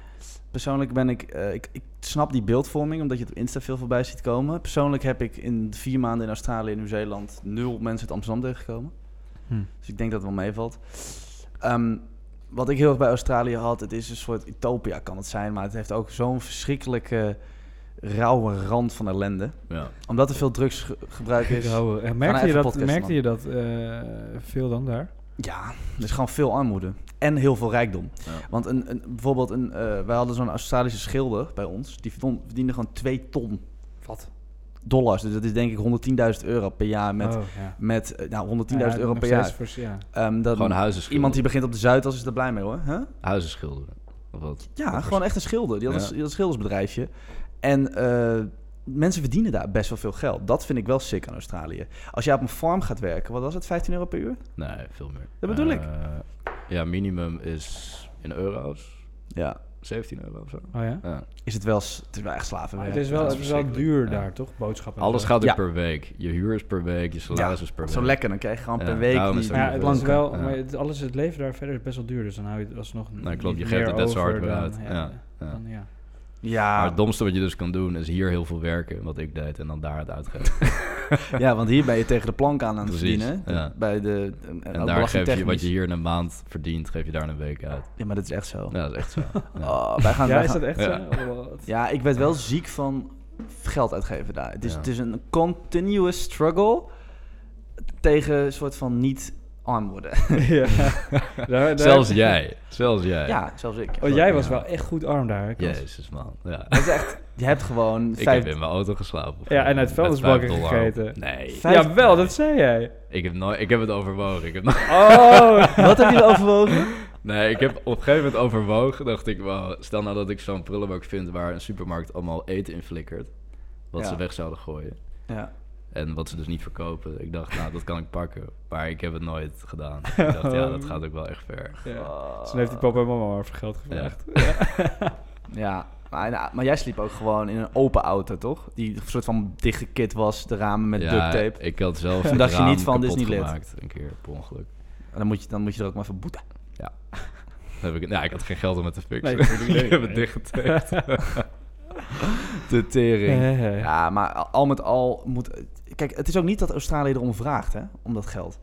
S1: Persoonlijk ben ik, eh, ik, ik snap die beeldvorming, omdat je het op Insta veel voorbij ziet komen. Persoonlijk heb ik in vier maanden in Australië en Nieuw-Zeeland nul mensen uit Amsterdam tegengekomen.
S2: Hm.
S1: Dus ik denk dat het wel meevalt. Ehm, wat ik heel erg bij Australië had, het is een soort utopia kan het zijn, maar het heeft ook zo'n verschrikkelijke rauwe rand van ellende.
S3: Ja.
S1: Omdat er veel drugsgebruik is.
S2: Rauwe. En
S1: nou
S2: eh, Merkte je
S1: even
S2: dat,
S1: podcasten,
S2: merkte
S1: man.
S2: je dat eh, veel dan daar?
S1: Ja, er is gewoon veel armoede. En heel veel rijkdom.
S3: Ja.
S1: Want een, een, bijvoorbeeld, een, eh, wij hadden zo'n Australische schilder bij ons. Die verdon- verdiende gewoon 2 ton. Wat? Dollars. Dus dat is denk ik 110.000 euro per jaar. Met,
S2: Oh, ja.
S1: met eh, nou, 110.000
S2: Ja,
S1: euro
S2: nog
S1: per
S2: steeds
S1: jaar.
S2: voor- ja.
S1: Ehm, dat,
S3: Gewoon huizen schilderen.
S1: iemand die begint op de Zuidas is er blij mee hoor. Huh?
S3: Huizen schilderen. Of wat?
S1: Ja,
S3: was-
S1: gewoon echt een schilder. Die had,
S3: Ja.
S1: een, die had een schildersbedrijfje. En eh, mensen verdienen daar best wel veel geld. Dat vind ik wel sick aan Australië. Als jij op een farm gaat werken, wat was het? 15 euro per uur?
S3: Nee, veel meer.
S1: Dat bedoel ik.
S3: Eh, Ja, minimum is in euro's.
S1: Ja.
S3: 17 euro of zo.
S2: Oh ja?
S3: Ja.
S1: Is het wel... s- Het is wel echt
S2: Maar
S1: slavenwerk.
S2: het is wel,
S3: dat is
S2: het is wel duur
S3: verschrikkelijk. Ja.
S2: daar, toch? Boodschappen. en
S3: Alles
S2: zo.
S3: gaat er
S1: Ja.
S3: per week. Je huur is per week, je salaris is per week.
S1: Zo lekker, dan krijg je gewoon
S3: Ja,
S1: per week
S3: daarom is
S1: die-
S3: het
S2: Maar ja, het is
S3: Planken,
S2: wel,
S3: ja.
S2: maar het, alles het leven daar verder is best wel duur, dus dan hou je het alsnog.
S3: Nou, klopt,
S2: niet
S3: je geeft het
S2: meer
S3: net zo hard
S2: over
S3: weer
S2: dan-
S3: uit. Ja, ja.
S2: dan, ja.
S3: Maar
S1: Ja,
S3: het domste wat je dus kan doen is hier heel veel werken, wat ik deed, en dan daar het uitgeven.
S1: ja, want hier ben je tegen de plank aan aan het
S3: Precies,
S1: verdienen. hè?
S3: ja.
S1: Bij de, eh, ook
S3: En daar geef je
S1: belastingtechnisch.
S3: wat je hier in een maand verdient, geef je daar in een week uit.
S1: Ja, maar dat is echt zo.
S3: Ja, dat is echt zo. Ja.
S1: Oh, wij gaan,
S2: Ja,
S1: wij
S2: is
S1: gaan-
S2: dat echt
S3: Ja.
S2: zo? Oh, wat-
S1: ja, ik werd wel ziek van geld uitgeven daar. Het is,
S3: Ja.
S1: het is een continuous struggle tegen een soort van niet arm worden.
S2: ja. Daar- daar-
S3: Zelfs jij. Zelfs jij.
S1: Ja, zelfs ik.
S2: Oh, jij was
S3: Ja.
S2: wel echt goed arm daar. hè, Kas?
S3: Jezus, man. Ja.
S1: Dat is echt, je hebt gewoon
S3: Ik
S1: vijf-
S3: heb in mijn auto geslapen.
S2: Ja, en uit
S3: Met
S2: vuilnisbakken
S3: vijf dollar op.
S2: gegeten.
S3: Nee,
S1: vijf-
S2: Jawel, dat zei jij.
S3: ik heb, nooit, ik heb het overwogen. Ik heb nooit-
S2: Oh,
S1: Wat heb je overwogen?
S3: nee, ik heb op een gegeven moment overwogen. Dacht ik, wow, stel nou dat ik zo'n prullenbak vind waar een supermarkt allemaal eten in flikkert. Wat
S1: Ja.
S3: ze weg zouden gooien.
S1: Ja.
S3: En wat ze dus niet verkopen. Ik dacht, nou, dat kan ik pakken. Maar ik heb het nooit gedaan. Ik dacht, ja, dat gaat ook wel echt ver.
S2: ja.
S1: Oh.
S2: Toen heeft die papa en mama maar voor geld gevraagd.
S1: Ja, maar, maar jij sliep ook gewoon in een open auto, toch? Die een soort van dichtgekit was, de ramen met
S3: ja,
S1: duct tape.
S3: Ik had zelf
S1: Toen
S3: het
S1: dacht je
S3: raam
S1: niet van, dit is
S3: kapot
S1: niet lid.
S3: gemaakt. Een keer, per ongeluk.
S1: En dan moet, je, dan moet je er ook maar van boeten.
S3: Dan Heb ik, nou, ik had geen geld om het te fixen.
S2: Nee,
S3: Nee,
S2: natuurlijk niet.
S3: ik heb het dichtgetaped. De tering.
S2: Hè, hè.
S1: Ja, maar al met al moet... Kijk, het is ook niet dat Australië erom vraagt, hè? Om dat geld.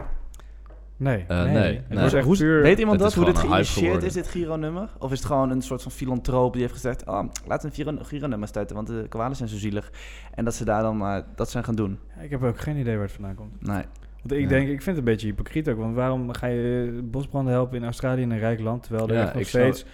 S2: Nee,
S3: Eh, nee,
S2: Het
S3: nee.
S2: was echt
S1: Hoe,
S2: puur...
S1: weet iemand
S3: Het
S1: dat?
S3: is
S1: Hoe dit
S3: gewoon een hype
S1: geïnitieerd
S3: geworden.
S1: is, dit Giro-nummer? Of is het gewoon een soort van filantroop die heeft gezegd... Oh, laten we een Giro- Giro-nummer stuiten, want de koalas zijn zo zielig. En dat ze daar dan eh, dat zijn gaan doen.
S2: Ik heb ook geen idee waar het vandaan komt.
S1: Nee.
S2: Want ik
S3: Ja.
S2: denk, ik vind het een beetje hypocriet ook. Want waarom ga je bosbranden helpen in Australië, in een rijk land, terwijl er
S3: Ja,
S2: echt nog
S3: ik snap-
S2: steeds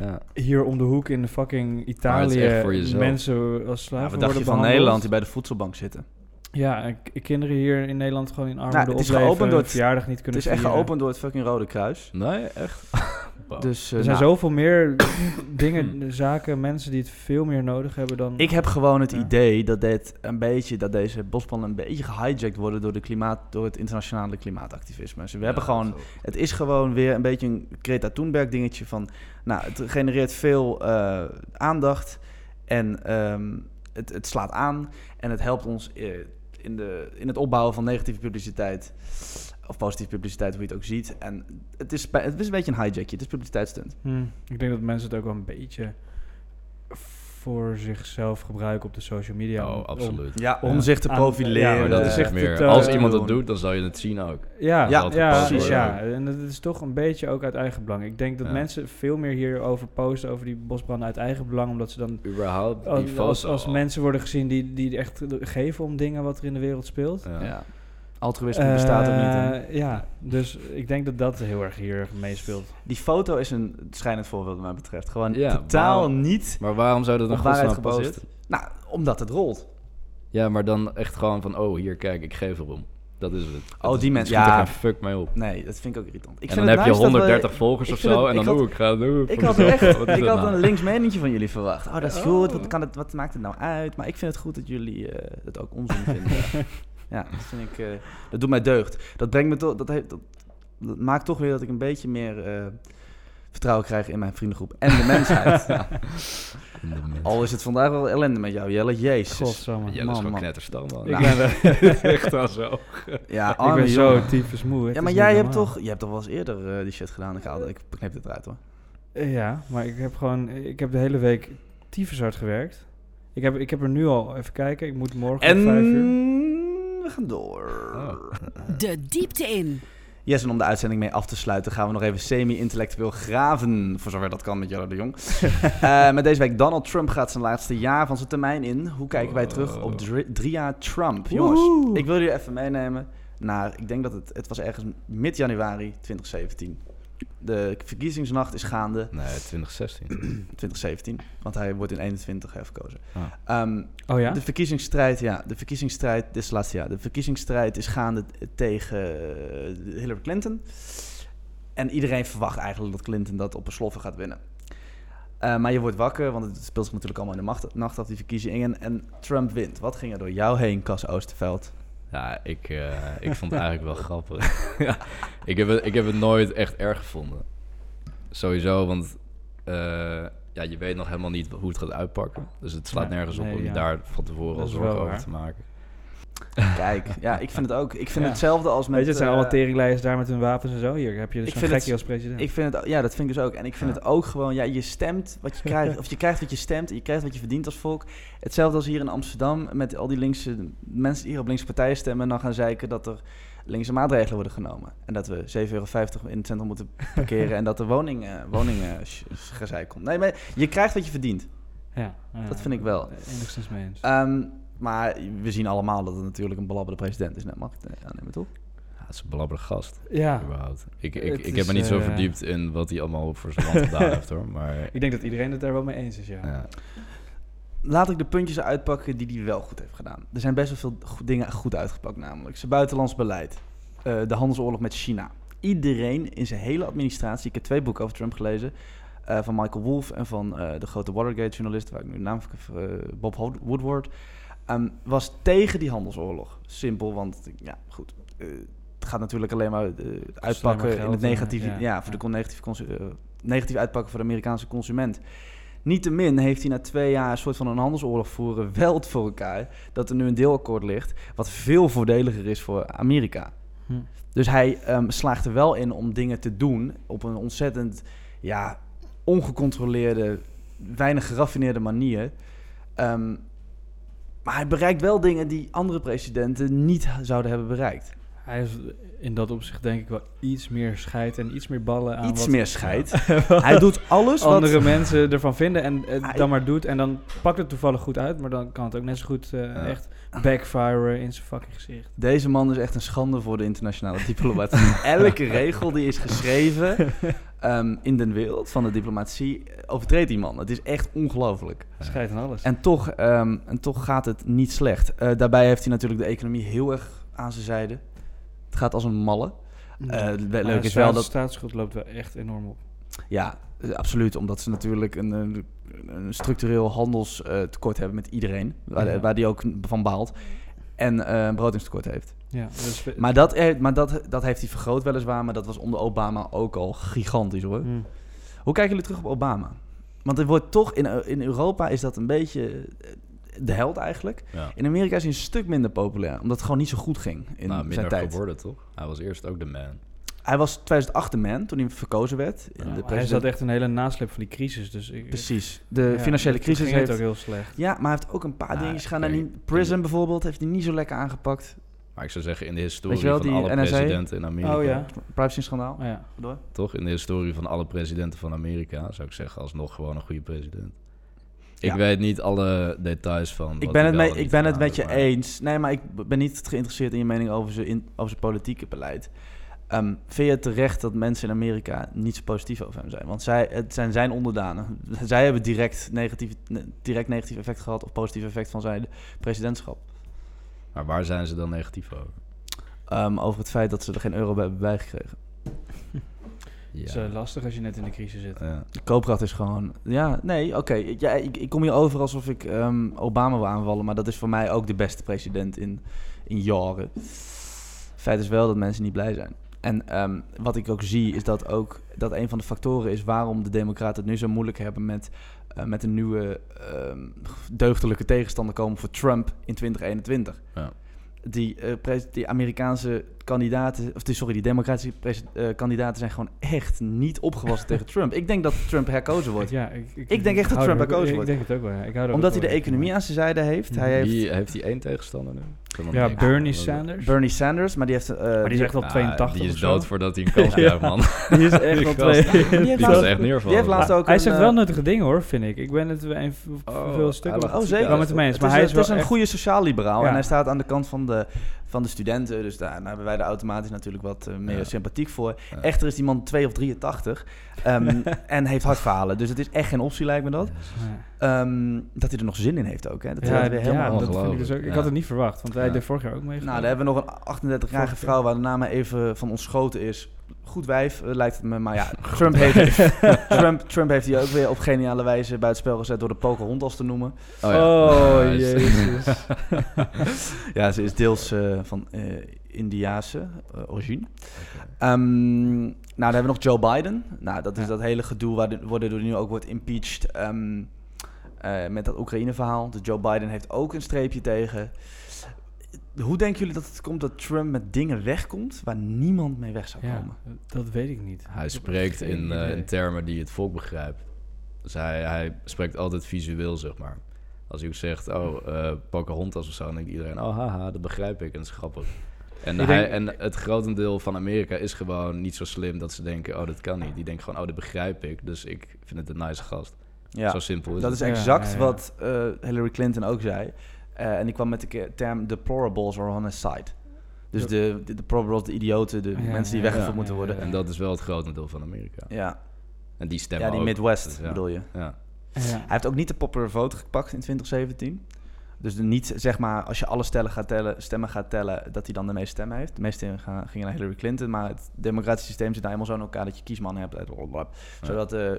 S3: Ja.
S2: hier om de hoek in de fucking
S3: het is
S2: Italië
S3: echt voor jezelf.
S2: mensen als
S1: Ja, wat
S2: slaven worden
S1: dacht je van
S2: behandeld.
S1: Nederland, die bij de voedselbank zitten?
S2: Ja, en k- kinderen hier in Nederland gewoon in armoede
S1: Nou, het is
S2: opleven,
S1: geopend door
S2: hun
S1: het-
S2: verjaardag niet
S1: Het
S2: kunnen
S1: is echt
S2: vieren.
S1: geopend door het fucking Rode Kruis.
S3: Nee, echt. Wow.
S1: Dus, eh,
S2: Er zijn
S1: nou,
S2: zoveel meer dingen, zaken, mensen die het veel meer nodig hebben dan...
S1: Ik heb gewoon het
S2: Ja.
S1: idee dat, dit een beetje, dat deze bosplannen een beetje gehijacked worden door, de klimaat, door het internationale klimaatactivisme. Dus we hebben
S3: Ja,
S1: gewoon,
S3: dat is ook-
S1: het is gewoon weer een beetje een Greta Thunberg dingetje van, nou, het genereert veel eh, aandacht en ehm, het, het slaat aan en het helpt ons eh, in, de, in het opbouwen van negatieve publiciteit. Of positieve publiciteit, hoe je het ook ziet. En het is, bij- het is een beetje een hijackje. Het is publiciteitsstunt.
S2: Hm, ik denk dat mensen het ook wel een beetje voor zichzelf gebruiken op de social media. om-
S3: Oh,
S2: om-
S3: absoluut.
S1: Ja, om
S2: Ja.
S1: zich te
S2: Aan-
S1: profileren.
S2: ja,
S3: maar dat
S2: eh,
S3: is echt
S2: het,
S3: meer.
S2: eh,
S3: als
S1: te
S3: iemand
S1: doen.
S3: het doet, dan zal je het zien ook.
S2: Ja,
S1: Ja,
S2: ja,
S3: dat gepast
S2: precies.
S1: wordt.
S2: Ja. En het is toch een beetje ook uit eigen belang. Ik denk dat
S3: Ja.
S2: mensen veel meer hierover posten, over die bosbranden uit eigen belang, omdat ze dan
S3: Überhaupt die
S2: als,
S3: foto.
S2: als, als
S3: al.
S2: mensen worden gezien die, die echt geven om dingen wat er in de wereld speelt.
S3: Ja.
S1: Ja. Altruïsme bestaat ook niet. hè?
S2: Eh, Ja, dus ik denk dat dat heel erg hier meespeelt.
S1: Die foto is een schijnend voorbeeld wat mij betreft. Gewoon
S3: Ja,
S1: totaal
S3: maar-
S1: niet
S3: Maar waarom zou dat
S1: op
S3: een goed
S1: waarheid
S3: zijn
S1: gebaseerd.
S3: posten?
S1: Nou, omdat het rolt.
S3: Ja, maar dan echt gewoon van, oh, hier, kijk, ik geef erom. Dat is het.
S1: Oh,
S3: Het-
S1: die mensen.
S3: Het schiet er
S1: Ja.
S3: geen fuck mee op.
S1: Nee, dat vind ik ook irritant. Ik
S3: en
S1: vind
S3: dan
S1: het
S3: heb je
S1: nice dat we-
S3: 130 volgers
S1: ik
S3: of
S1: vind
S3: zo.
S1: het-
S3: en
S1: ik
S3: dan,
S1: had-
S3: oeh, ik ga het doen.
S1: Ik
S3: voor
S1: had
S3: mezelf.
S1: echt
S3: Wat is
S1: ik
S3: dat
S1: had
S3: nou?
S1: een links menentje van jullie verwacht. Oh, dat is
S2: Oh.
S1: goed. Wat, kan het, wat maakt het nou uit? Maar ik vind het goed dat jullie eh, het ook onzin vinden. ja, dat vind ik... eh, dat doet mij deugd. Dat, brengt me toch dat, heeft- dat, dat maakt toch weer dat ik een beetje meer eh, vertrouwen krijg in mijn vriendengroep. En de mensheid. Ja.
S3: In de mid.
S1: Al is het vandaag wel ellende met jou, Jelle. Jezus.
S3: Ja,
S2: Godsamme.
S3: dat
S1: Oh, man,
S3: is gewoon
S1: man.
S3: knetterstand. man.
S2: Ik
S3: Nou,
S2: ben er-
S3: echt wel zo.
S1: Ja,
S2: ik
S1: arme
S2: ben
S1: jongen.
S2: zo tyfus moe. het
S1: Ja,
S2: is
S1: maar
S2: niet
S1: jij hebt,
S2: normaal.
S1: toch, jij hebt toch wel eens eerder eh, die shit gedaan? Ik, haal, ik knip dit eruit hoor.
S2: Eh, Ja, maar ik heb gewoon... Ik heb de hele week tyfus hard gewerkt. Ik heb, ik heb er nu al... Even kijken, ik moet morgen
S1: En
S2: om vijf uur...
S1: we gaan door.
S3: Oh.
S4: De diepte in.
S1: Yes, en om de uitzending mee af te sluiten gaan we nog even semi-intellectueel graven, voor zover dat kan met Jelle de Jong. Eh, met deze week Donald Trump gaat zijn laatste jaar van zijn termijn in. Hoe kijken wij terug op drie, drie jaar Trump? Jongens,
S2: Woehoe.
S1: ik wil jullie even meenemen naar, ik denk dat het, het was ergens mid-januari 2017. De verkiezingsnacht is gaande,
S3: Nee, 2016.
S1: 2017, want hij wordt in 21 herverkozen.
S3: Ah.
S1: Ehm,
S2: Oh ja?
S1: de verkiezingsstrijd, ja, de verkiezingsstrijd, dit is het laatste jaar. De verkiezingsstrijd is gaande tegen eh, Hillary Clinton. En iedereen verwacht eigenlijk dat Clinton dat op een sloffen gaat winnen. Eh, maar je wordt wakker, want het speelt zich natuurlijk allemaal in de macht- nacht af, die verkiezingen. En Trump wint. Wat ging er door jou heen, Cas Oosterveld?
S3: Ja, ik, eh, ik vond het eigenlijk wel grappig. ja, ik, heb het, ik heb het nooit echt erg gevonden. Sowieso, want eh, ja, je weet nog helemaal niet hoe het gaat uitpakken. Dus het slaat
S2: Nee,
S3: nergens op
S2: nee,
S3: om je
S2: ja.
S3: daar van tevoren
S2: Dat
S3: al
S2: is
S3: zorgen
S2: wel
S3: over
S2: waar.
S3: te maken.
S1: Kijk, ja, ik vind het ook. Ik vind
S2: Ja.
S1: hetzelfde als met...
S2: Weet je, het zijn
S1: eh,
S2: allemaal teringlijers daar met hun wapens en zo. Hier heb je dus
S1: Ik
S2: zo'n
S1: vind het-
S2: gekkie als president.
S1: Ik vind het, ja, dat vind ik dus ook. En ik vind
S3: Ja.
S1: het ook gewoon, ja, je stemt wat je krijgt, of je krijgt wat je stemt en je krijgt wat je verdient als volk. Hetzelfde als hier in Amsterdam met al die linkse mensen die hier op linkse partijen stemmen en dan gaan zeiken dat er linkse maatregelen worden genomen. En dat we 7,50 euro in het centrum moeten parkeren en dat er woningen, woningen sh- sh- gezeik komt. Nee, maar je krijgt wat je verdient.
S2: ja, ja, eh,
S1: dat vind ik wel.
S2: Enigszins mee eens.
S1: Ehm, maar we zien allemaal dat het natuurlijk een belabberde president is, net mag ik het aannemen, toch?
S3: Ja, het is een blabberige gast,
S2: ja.
S3: überhaupt. Ik, ik, ik
S2: Het is,
S3: heb me niet zo
S2: eh,
S3: verdiept in wat hij allemaal voor zijn land gedaan heeft, hoor. Maar
S2: Ik denk dat iedereen het daar wel mee eens is, ja.
S3: ja,
S1: Laat ik de puntjes uitpakken die hij wel goed heeft gedaan. Er zijn best wel veel go- dingen goed uitgepakt, namelijk zijn buitenlands beleid, eh, de handelsoorlog met China. Iedereen in zijn hele administratie, ik heb twee boeken over Trump gelezen, eh, van Michael Wolff en van eh, de grote Watergate-journalist, waar ik nu de naam van ver- eh, Bob Ho- Woodward, ehm, was tegen die handelsoorlog. Simpel, want ja, goed. eh, het gaat natuurlijk alleen maar eh, uitpakken
S2: maar
S1: in
S2: geld,
S1: het
S2: eh,
S1: negatieve, ja,
S2: ja,
S1: voor
S2: ja.
S1: de con- negatieve consu- eh, negatief uitpakken voor de Amerikaanse consument. Niettemin heeft hij na twee jaar een soort van een handelsoorlog voeren wel het voor elkaar dat er nu een deelakkoord ligt wat veel voordeliger is voor Amerika.
S2: Hm.
S1: Dus hij ehm, slaagt er wel in om dingen te doen op een ontzettend ja, ongecontroleerde, weinig geraffineerde manier. Ehm, maar hij bereikt wel dingen die andere presidenten niet zouden hebben bereikt.
S2: Hij is in dat opzicht denk ik wel iets meer scheid en iets meer ballen aan
S1: Iets
S2: wat
S1: meer scheid. Hij doet alles wat... Ah,
S2: andere mensen ervan vinden en het
S1: Hij-
S2: dan maar doet. En dan pakt het toevallig goed uit, maar dan kan het ook net zo goed eh,
S3: Ja.
S2: echt backfiren in zijn fucking gezicht.
S1: Deze man is echt een schande voor de internationale diplomatie. Elke regel die is geschreven ehm, in de wereld van de diplomatie eh, overtreedt die man. Het is echt ongelooflijk.
S2: Scheid en alles.
S1: En toch, ehm, en toch gaat het niet slecht. Eh, daarbij heeft hij natuurlijk de economie heel erg aan zijn zijde. Het gaat als een malle. eh,
S2: Maar
S1: le-
S2: de
S1: leuk is
S2: staats-
S1: wel dat-
S2: staatsschuld loopt wel echt enorm op.
S1: Ja, eh, absoluut. Omdat ze natuurlijk een, een, een structureel handelstekort hebben met iedereen. Waar,
S2: Ja.
S1: waar die ook van baalt. En eh een broodingstekort heeft.
S2: Ja, dus we-
S1: Maar, dat, eh, maar dat, dat heeft hij vergroot weliswaar, maar dat was onder Obama ook al gigantisch hoor.
S2: Hm.
S1: Hoe kijken jullie terug op Obama? Want er wordt toch, in, in Europa is dat een beetje eh, de held eigenlijk.
S3: ja.
S1: In Amerika is hij een stuk minder populair, omdat het gewoon niet zo goed ging in
S3: nou,
S1: zijn
S3: minder
S1: tijd.
S3: geworden, toch? Hij was eerst ook de man.
S1: Hij was 2008 de man, toen hij verkozen werd.
S3: Ja,
S1: de
S3: maar hij
S2: Hij
S1: president-
S2: zat echt een hele naslip van die crisis. Dus ik,
S1: Precies. De
S2: ja,
S1: financiële
S2: toen- toen
S1: crisis
S2: ging
S1: heeft...
S2: het ook heel slecht.
S1: Ja, maar hij heeft ook een paar
S3: Nou,
S1: dingetjes
S3: ik
S1: gedaan. En
S3: denk-
S1: die prison bijvoorbeeld heeft hij niet zo lekker aangepakt.
S3: Maar ik zou zeggen, in de historie
S1: Weet je wel,
S3: van
S1: die
S3: alle
S1: NSA?
S3: presidenten in Amerika...
S2: Oh ja.
S1: Privacy schandaal.
S2: Oh, ja.
S1: Door.
S3: Toch? In de historie van alle presidenten van Amerika zou ik zeggen alsnog gewoon een goede president. Ik
S1: Ja.
S3: weet niet alle details van.
S1: Ik
S3: wat
S1: ben
S3: hij
S1: het,
S3: wel
S1: mee,
S3: en niet
S1: ik ben het
S3: gedaan
S1: met je
S3: heeft, maar-
S1: eens. Nee, maar ik b- ben niet geïnteresseerd in je mening over zijn, in, over zijn politieke beleid. Ehm, vind je het terecht dat mensen in Amerika niet zo positief over hem zijn? Want zij, het zijn zijn onderdanen. Zij hebben direct negatief, ne- direct negatief effect gehad... of positief effect van zijn presidentschap.
S3: Maar waar zijn ze dan negatief over?
S1: ehm, over het feit dat ze er geen euro bij hebben bijgekregen.
S2: Het
S3: Ja.
S2: is eh, lastig als je net in de crisis zit.
S3: Ja.
S1: De koopkracht is gewoon... Ja, nee, oké. ik- Ja, ik, ik kom hier over alsof ik ehm, Obama wil aanvallen, maar dat is voor mij ook de beste president in, in jaren. Feit is wel dat mensen niet blij zijn. En ehm, wat ik ook zie is dat ook dat een van de factoren is waarom de Democraten het nu zo moeilijk hebben met, eh, met een nieuwe ehm, deugdelijke tegenstander komen voor Trump in 2021.
S3: Ja.
S1: Die, eh, pres- die Amerikaanse kandidaten, of die, sorry, die democratische pres- eh, kandidaten zijn gewoon echt niet opgewassen tegen Trump. Ik denk dat Trump herkozen wordt.
S2: Ja, ik, ik,
S1: Ik denk echt dat
S2: hou
S1: Trump
S2: er ook-
S1: herkozen
S2: Ik
S1: wordt.
S2: denk het ook wel, ja. Ik hou er
S1: Omdat
S2: ook
S1: hij de
S2: wel van.
S1: economie aan zijn zijde heeft. Hij
S3: Heeft...
S1: heeft
S3: Wie heeft hij één tegenstander nu? Iemand
S2: Ja,
S3: niks.
S2: Bernie Sanders.
S1: Bernie Sanders, maar die heeft... eh,
S2: maar die is echt al
S3: Ah,
S2: 82
S3: Die
S2: of
S3: is
S2: zo.
S3: dood voordat hij een kans krijgt, man.
S1: die is echt al
S3: Die
S1: twee...
S3: gast-
S1: Die heeft
S3: Die was
S1: laatst-
S3: echt neervallen.
S1: die heeft laatst ook
S2: Hij
S1: een,
S2: zegt
S1: eh,
S2: wel nuttige dingen hoor, vind ik. Ik ben het in v-
S3: Oh,
S2: veel stukken
S3: hij
S2: wel
S3: lacht.
S1: Oh, zeker.
S2: wel met hem eens.
S1: Het
S2: Maar
S1: is,
S2: hij
S1: een- het
S2: is wel
S1: is een
S2: echt-
S1: goede sociaal-liberaal.
S2: Ja.
S1: En hij staat aan de kant van de, van de studenten. Dus daar daar hebben wij er automatisch natuurlijk wat eh, meer
S3: Ja.
S1: sympathiek voor.
S3: Ja.
S1: Echter is die man 2 of 83. ehm, en heeft hartfalen. Dus het is echt geen optie, lijkt me dat.
S2: Ja.
S1: Ehm, dat hij er nog zin in heeft ook. Hè? Dat
S2: Ja,
S1: hij weer helemaal...
S2: ja, dat vind ik
S3: ongelooflijk.
S2: dus ook. Ik
S3: Ja.
S2: had het niet verwacht, want hij
S3: Ja.
S2: deed vorig jaar ook mee.
S1: Nou, daar hebben we nog een 38-jarige vrouw waar de naam even van ontschoten is. Goed wijf, eh, lijkt het me. Maar ja, Trump heeft, Trump, Trump heeft die ook weer op geniale wijze buitenspel gezet door de Pocahontas te noemen.
S3: Oh, ja. Nice.
S2: jezus.
S1: Ja, ze is deels eh, van eh Indiaanse eh, origine. Ehm, nou, dan hebben we nog Joe Biden. Nou, dat is
S2: Ja.
S1: dat hele gedoe waar de- waardoor hij nu ook wordt impeached ehm, eh, met dat Oekraïne-verhaal. Dus Joe Biden heeft ook een streepje tegen. Hoe denken jullie dat het komt dat Trump met dingen wegkomt waar niemand mee weg zou
S2: Ja,
S1: komen?
S2: dat weet ik niet.
S3: Hij spreekt
S2: Geen
S3: in, eh,
S2: idee.
S3: in termen die het volk begrijpt. Dus hij, hij spreekt altijd visueel, zeg maar. Als hij ook zegt, oh, eh Pocahontas of zo, dan denkt iedereen, oh, haha, dat begrijp ik, en dat is grappig. En,
S2: Ik
S3: hij,
S2: denk-
S3: en het grotendeel van Amerika is gewoon niet zo slim dat ze denken, oh, dat kan niet. Die denken gewoon, oh, dat begrijp ik, dus ik vind het een nice gast.
S1: Ja.
S3: Zo simpel is
S1: Dat
S3: het.
S1: is
S2: Ja,
S1: exact
S2: ja, ja.
S1: wat eh, Hillary Clinton ook zei. Eh, en die kwam met de ke- term deplorables are on his side. Dus
S2: Ja.
S1: de, de deplorables, de idioten, de
S2: Ja,
S1: mensen die
S2: ja,
S1: weggevoerd
S2: ja,
S1: moeten
S2: ja,
S1: worden.
S2: is-
S3: En dat is wel het grotendeel van Amerika.
S1: Ja,
S3: En die stemmen
S1: ja die
S3: ook.
S1: Midwest
S3: Dus ja.
S1: bedoel je.
S3: Ja.
S2: Ja.
S1: Hij heeft ook niet de popular vote gepakt in 2017. Dus de niet, zeg maar, als je alle stellen gaat tellen, stemmen gaat tellen, dat hij dan de meeste stemmen heeft. De meeste gaan- gingen naar Hillary Clinton, maar het democratische systeem zit nou helemaal zo in elkaar dat je kiesman hebt. eh, blablabla. Zodat, eh,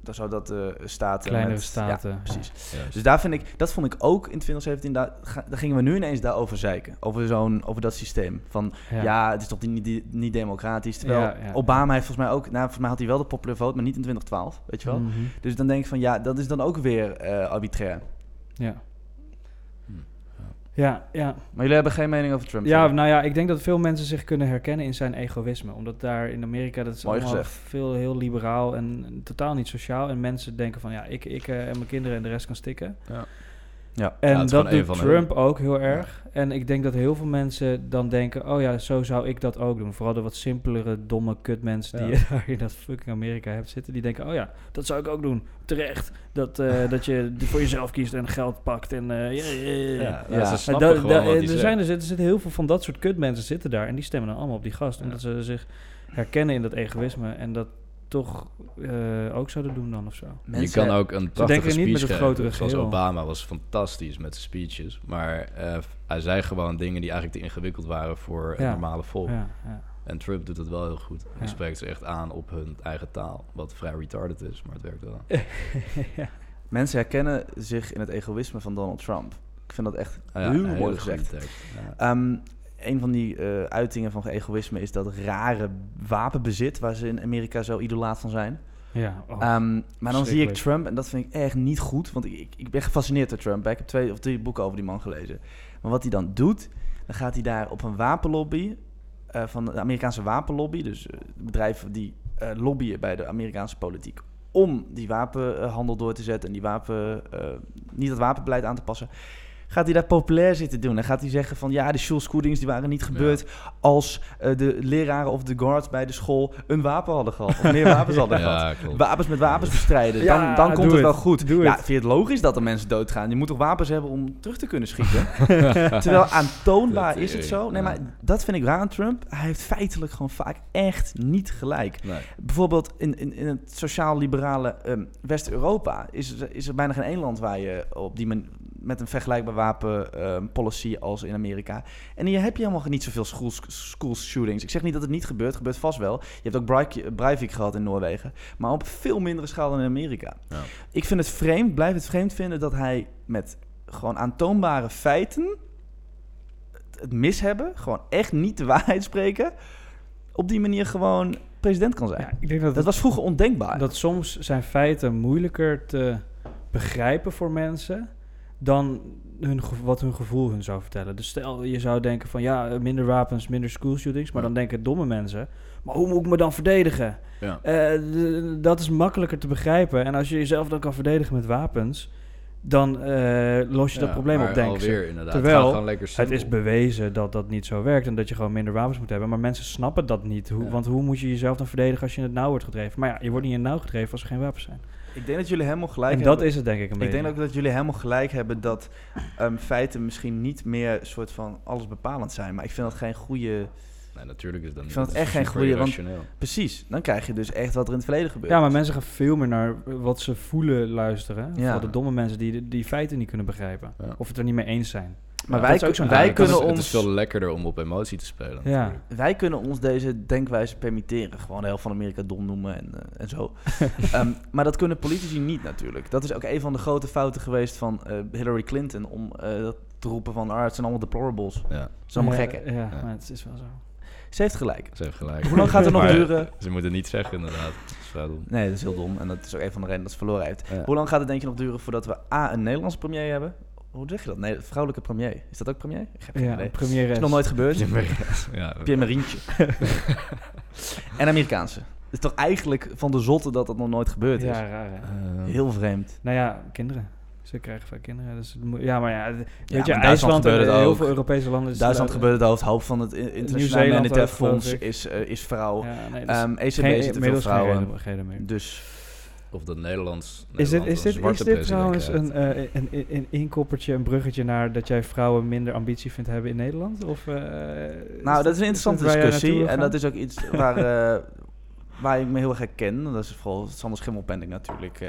S1: dat- zodat de staten...
S2: Kleinere
S1: met- ja,
S2: staten.
S1: precies.
S3: juist.
S1: Dus daar vind ik, dat vond ik ook in 2017, daar, ga- daar gingen we nu ineens daarover zeiken. Over, zo'n, over dat systeem. Van ja, het is toch die- niet, die- niet democratisch. Terwijl
S2: Ja, ja.
S1: Obama heeft volgens mij ook, nou, volgens mij had hij wel de popular vote, maar niet in 2012, weet je wel.
S2: Mhm.
S1: Dus dan denk ik van ja, dat is dan ook weer eh, arbitrair.
S2: Ja.
S3: Hm.
S2: Ja, ja.
S1: Maar jullie hebben geen mening over Trump.
S2: ja,
S1: toch?
S2: nou ja, ik denk dat veel mensen zich kunnen herkennen in zijn egoïsme. Omdat daar in Amerika, dat is
S1: Mooi
S2: allemaal
S1: gezegd.
S2: veel heel liberaal en totaal niet sociaal. En mensen denken van, ja, ik, ik eh, en mijn kinderen en de rest kan stikken.
S3: Ja.
S1: Ja.
S2: En
S3: Ja, het is
S2: dat
S3: gewoon een
S2: doet
S3: van hun.
S2: Trump ook heel erg. En ik denk dat heel veel mensen dan denken, oh ja, zo zou ik dat ook doen. Vooral de wat simpelere, domme kutmensen die
S3: Ja.
S2: je daar in dat fucking Amerika hebt zitten. Die denken, oh ja, dat zou ik ook doen. Terecht. Dat, eh, dat je voor jezelf kiest en geld pakt en... eh, ja, ja, ja, ja.
S3: Ja, nou,
S1: Ja.
S3: ze
S2: Maar
S3: snappen
S2: da-
S3: gewoon
S2: da-
S3: wat hij
S2: er,
S3: zegt.
S2: zijn, er, zitten, er zitten heel veel van dat soort kutmensen zitten daar. En die stemmen dan allemaal op die gast.
S3: Ja.
S2: Omdat ze zich herkennen in dat egoïsme. En dat toch eh, ook zouden doen dan of zo.
S3: Je
S1: Mensen-
S3: kan ook een
S2: denken
S3: prachtige
S2: niet
S3: speech
S2: met het
S3: geven.
S2: grotere
S3: Zoals
S2: geheel.
S3: Obama was fantastisch met zijn speeches. Maar eh, hij zei gewoon dingen die eigenlijk te ingewikkeld waren voor
S2: Ja.
S3: het normale volk.
S2: Ja, ja.
S3: En Trump doet dat wel heel goed. Hij
S2: Ja.
S3: spreekt ze echt aan op hun eigen taal. Wat vrij retarded is, maar het werkt wel.
S2: ja.
S1: Mensen herkennen zich in het egoïsme van Donald Trump. Ik vind dat echt
S3: Ah ja,
S1: heel
S3: een hele
S1: mooi
S3: goede
S1: gezegd.
S3: tekst. Ja.
S1: Ehm, een van die eh, uitingen van egoïsme is dat rare wapenbezit waar ze in Amerika zo idolaat van zijn.
S2: ja. oh.
S1: Ehm, maar dan zie ik
S2: verschrikkelijk.
S1: Trump en dat vind ik echt niet goed. Want ik, ik, ik ben gefascineerd door Trump. hè. Ik heb twee of drie boeken over die man gelezen. Maar wat hij dan doet, dan gaat hij daar op een wapenlobby... eh, van de Amerikaanse wapenlobby, dus eh, bedrijven die eh, lobbyen bij de Amerikaanse politiek... om die wapenhandel door te zetten en die wapen, eh, niet dat wapenbeleid aan te passen... Gaat hij daar populair zitten doen? En gaat hij zeggen van ja, de Schulz-Koedings die waren niet gebeurd als eh, de leraren of de guards bij de school een wapen hadden gehad. Of meer wapens hadden gehad.
S3: Ja, klopt.
S1: Wapens met wapens bestrijden.
S2: Ja,
S1: dan, dan komt
S2: doe
S1: het wel
S2: het.
S1: goed.
S2: Doe
S1: ja,
S2: het.
S1: vind je het logisch dat er mensen doodgaan? Je moet toch wapens hebben om terug te kunnen schieten? Terwijl aantoonbaar
S3: Dat
S1: is het
S3: is-
S1: zo. Nee,
S3: ja.
S1: maar dat vind ik raar aan Trump. Hij heeft feitelijk gewoon vaak echt niet gelijk.
S3: Nee.
S1: Bijvoorbeeld in, in, in het sociaal-liberale ehm, West-Europa is, er- is er bijna geen één land waar je op die man- met een vergelijkbaar wapenpolicy als in Amerika. En hier heb je helemaal niet zoveel school, school shootings. Ik zeg niet dat het niet gebeurt, gebeurt vast wel. Je hebt ook Breik- Breivik gehad in Noorwegen, maar op veel mindere schaal dan in Amerika.
S3: Ja.
S1: Ik vind het vreemd, blijf het vreemd vinden dat hij met gewoon aantoonbare feiten het- het mis hebben, gewoon echt niet de waarheid spreken, op die manier gewoon president kan zijn.
S2: Ja, Ah, ik denk dat,
S1: Dat
S2: het-
S1: was vroeger ondenkbaar.
S2: dat soms zijn feiten moeilijker te begrijpen voor mensen dan hun gevo- wat hun gevoel hun zou vertellen. Dus stel, je zou denken van ja, minder wapens, minder schoolshootings, maar
S3: Ja.
S2: dan denken domme mensen, maar hoe moet ik me dan verdedigen?
S3: Ja.
S2: Eh, d- dat is makkelijker te begrijpen. En als je jezelf dan kan verdedigen met wapens, dan eh, los je dat
S3: Ja,
S2: probleem
S3: maar
S2: op, denk ik.
S3: alweer, inderdaad.
S2: Terwijl
S3: het, gaat gewoon lekker
S2: Het
S3: simpel.
S2: is bewezen dat dat niet zo werkt en dat je gewoon minder wapens moet hebben. Maar mensen snappen dat niet. Hoe,
S3: Ja.
S2: Want hoe moet je jezelf dan verdedigen als je in het nauw wordt gedreven? Maar ja, je wordt niet in het nauw gedreven als er geen wapens zijn.
S1: Ik denk dat jullie helemaal gelijk
S2: en
S1: hebben.
S2: dat is het denk ik een
S1: ik
S2: beetje.
S1: denk ook dat jullie helemaal gelijk hebben dat ehm, feiten misschien niet meer soort van alles bepalend zijn. Maar ik vind dat geen goede.
S3: Nee, natuurlijk is dat niet.
S1: vind het
S3: Dat is
S1: echt geen
S3: super
S1: goeie, want-
S3: irrationeel.
S1: Precies. Dan krijg je dus echt wat er in het verleden gebeurt.
S2: Ja, maar mensen gaan veel meer naar wat ze voelen luisteren.
S1: Ja.
S2: Vooral de domme mensen die die feiten niet kunnen begrijpen.
S3: Ja.
S2: Of het er niet mee eens zijn.
S1: Maar
S2: Ja,
S1: wij,
S2: dat is ook zo'n
S1: wij
S3: Ja, het
S1: kunnen
S3: is, Het
S1: ons.
S3: is veel lekkerder om op emotie te spelen.
S2: Ja.
S3: natuurlijk.
S1: Wij kunnen ons deze denkwijze permitteren. Gewoon de helft van Amerika dom noemen en, eh, en zo. Ehm, maar dat kunnen politici niet natuurlijk. Dat is ook een van de grote fouten geweest van eh, Hillary Clinton. Om eh, dat te roepen van, ah, het zijn allemaal deplorables. Het zijn allemaal
S2: Ja,
S1: gekken.
S2: Ja,
S3: Ja.
S2: maar het is wel zo.
S1: Ze heeft gelijk.
S3: Ze heeft gelijk.
S1: Hoe lang gaat het nog
S3: Maar
S1: duren?
S3: Ze moeten niet zeggen, inderdaad. Dat is vrij dom.
S1: Nee, dat is heel dom. En dat is ook een van de redenen dat ze verloren heeft.
S3: Ja.
S1: Hoe lang gaat het denk je nog duren voordat we A, een Nederlandse premier hebben? Hoe zeg je dat? Nee, vrouwelijke premier. Is dat ook premier? Ik heb geen
S2: Ja,
S1: idee.
S2: première
S1: Is nog nooit gebeurd.
S3: Ja,
S1: Pierre Marientje. en Amerikaanse. Het is toch eigenlijk van de zotte dat dat nog nooit gebeurd dus. is.
S2: Ja, raar hè?
S3: eh,
S1: Heel vreemd.
S2: Nou ja, kinderen. Ze krijgen vaak kinderen. Dus het moet- ja, maar ja, d-
S1: maar
S2: weet je,
S1: in Duitsland
S2: IJsland en
S1: gebeurde het
S2: heel
S1: ook.
S2: veel Europese landen... is-
S1: Duitsland gebeurt het hoofd. Hoop van het in- internationale
S2: Dus, eh, Nieuw-Zeeland
S1: monetair
S2: ook, geloof
S1: fonds
S2: ik.
S1: is, eh, is vrouw.
S2: Ja, nee, dus- dat is
S1: Ehm ECB
S2: geen-
S1: zitten veel
S2: inmiddels geen
S1: vrouwen.
S2: reden- reden meer.
S1: Dus
S3: Of dat Nederlands.
S2: Is dit,
S3: Nederland
S2: is
S3: een
S2: dit, is
S3: zwarte
S2: dit
S3: president
S2: trouwens
S3: krijgt.
S2: een, eh, een, een, een inkoppertje, een bruggetje naar dat jij vrouwen minder ambitie vindt hebben in Nederland? Of, eh,
S1: nou, dat is een interessante discussie. En dat
S2: is... dit
S1: is ook iets waar, eh, waar ik me heel erg herken. Dat is vooral Sander Schimmelpending natuurlijk eh,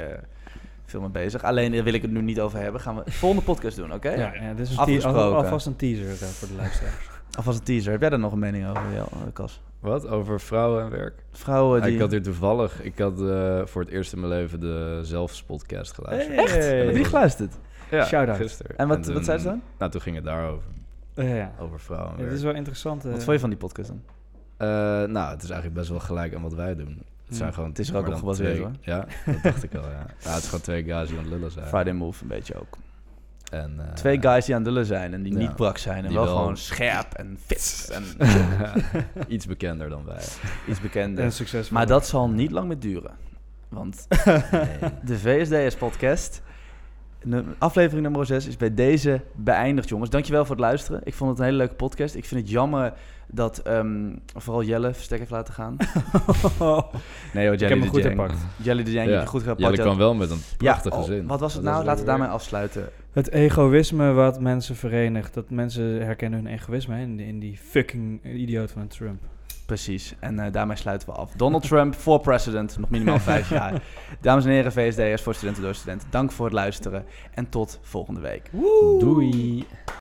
S1: veel mee bezig. Alleen daar wil ik het nu niet over hebben. Gaan we volgende podcast doen, oké?
S2: waar jij naartoe wil gaan? Ja, ja, dit is een te-
S1: Afgesproken.
S2: al- alvast een teaser eh, voor de luisteraars.
S1: Alvast een teaser. Heb jij daar nog een mening over, Jel- eh, Cas?
S3: Wat? Over vrouwen en werk?
S1: Vrouwen
S3: Ah,
S1: die...
S3: Ik had hier toevallig... Ik had eh, voor het eerst in mijn leven de Zelfs-podcast geluisterd.
S2: Echt?
S1: Heb je die geluisterd?
S3: Ja,
S2: Shout-out.
S3: gisteren.
S1: En wat,
S3: toen-
S1: wat zei ze dan?
S3: Nou, toen ging het daarover.
S2: Ja, ja.
S3: Over vrouwen en
S2: Het
S3: werk.
S2: is wel interessant. eh,
S1: Oh, Wat vond je van die podcast dan?
S3: Eh, nou, het is eigenlijk best wel gelijk aan wat wij doen. Het zijn gewoon...
S2: Ja.
S1: Hmm. Het is er ook
S3: maar
S1: op
S3: dan
S1: gebaseerd,
S3: twee-
S1: hoor.
S3: Ja, dat dacht ik al, ja. Ja, het is gewoon twee guys die aan het lullen zijn.
S1: Friday Move een beetje ook.
S3: En, eh,
S1: Twee guys die aan het lullen zijn en die
S3: ja.
S1: niet brak zijn. En
S3: Die
S1: wel,
S3: wel-
S1: gewoon scherp en fit en
S3: Iets bekender dan wij.
S1: iets
S2: en
S1: bekender.
S2: succesvol.
S1: Maar dat zal niet lang meer duren. Want
S3: Nee.
S1: de VSDS podcast, num- aflevering nummer 6, is bij deze beëindigd, jongens. Dankjewel voor het luisteren. Ik vond het een hele leuke podcast. Ik vind het jammer dat ehm, vooral Jelle verstek heeft laten gaan. Nee hoor,
S2: ik heb hem goed gepakt.
S1: Jelly de Jang,
S3: Ja.
S1: heb je goed gepakt.
S3: Jullie
S1: Jij-
S3: kwam wel met een
S1: Ja,
S3: prachtige
S1: oh,
S3: zin.
S1: wat was het nou? Laten we
S3: weer?
S1: daarmee afsluiten.
S2: Het egoïsme wat mensen verenigt. Dat mensen herkennen hun egoïsme hè, in, in die fucking idioot van een Trump.
S1: Precies. En eh, daarmee sluiten we af. Donald Trump voor president, nog minimaal vijf jaar. Dames en heren, VSDS voor studenten door studenten. Dank voor het luisteren en tot volgende week.
S3: Doei!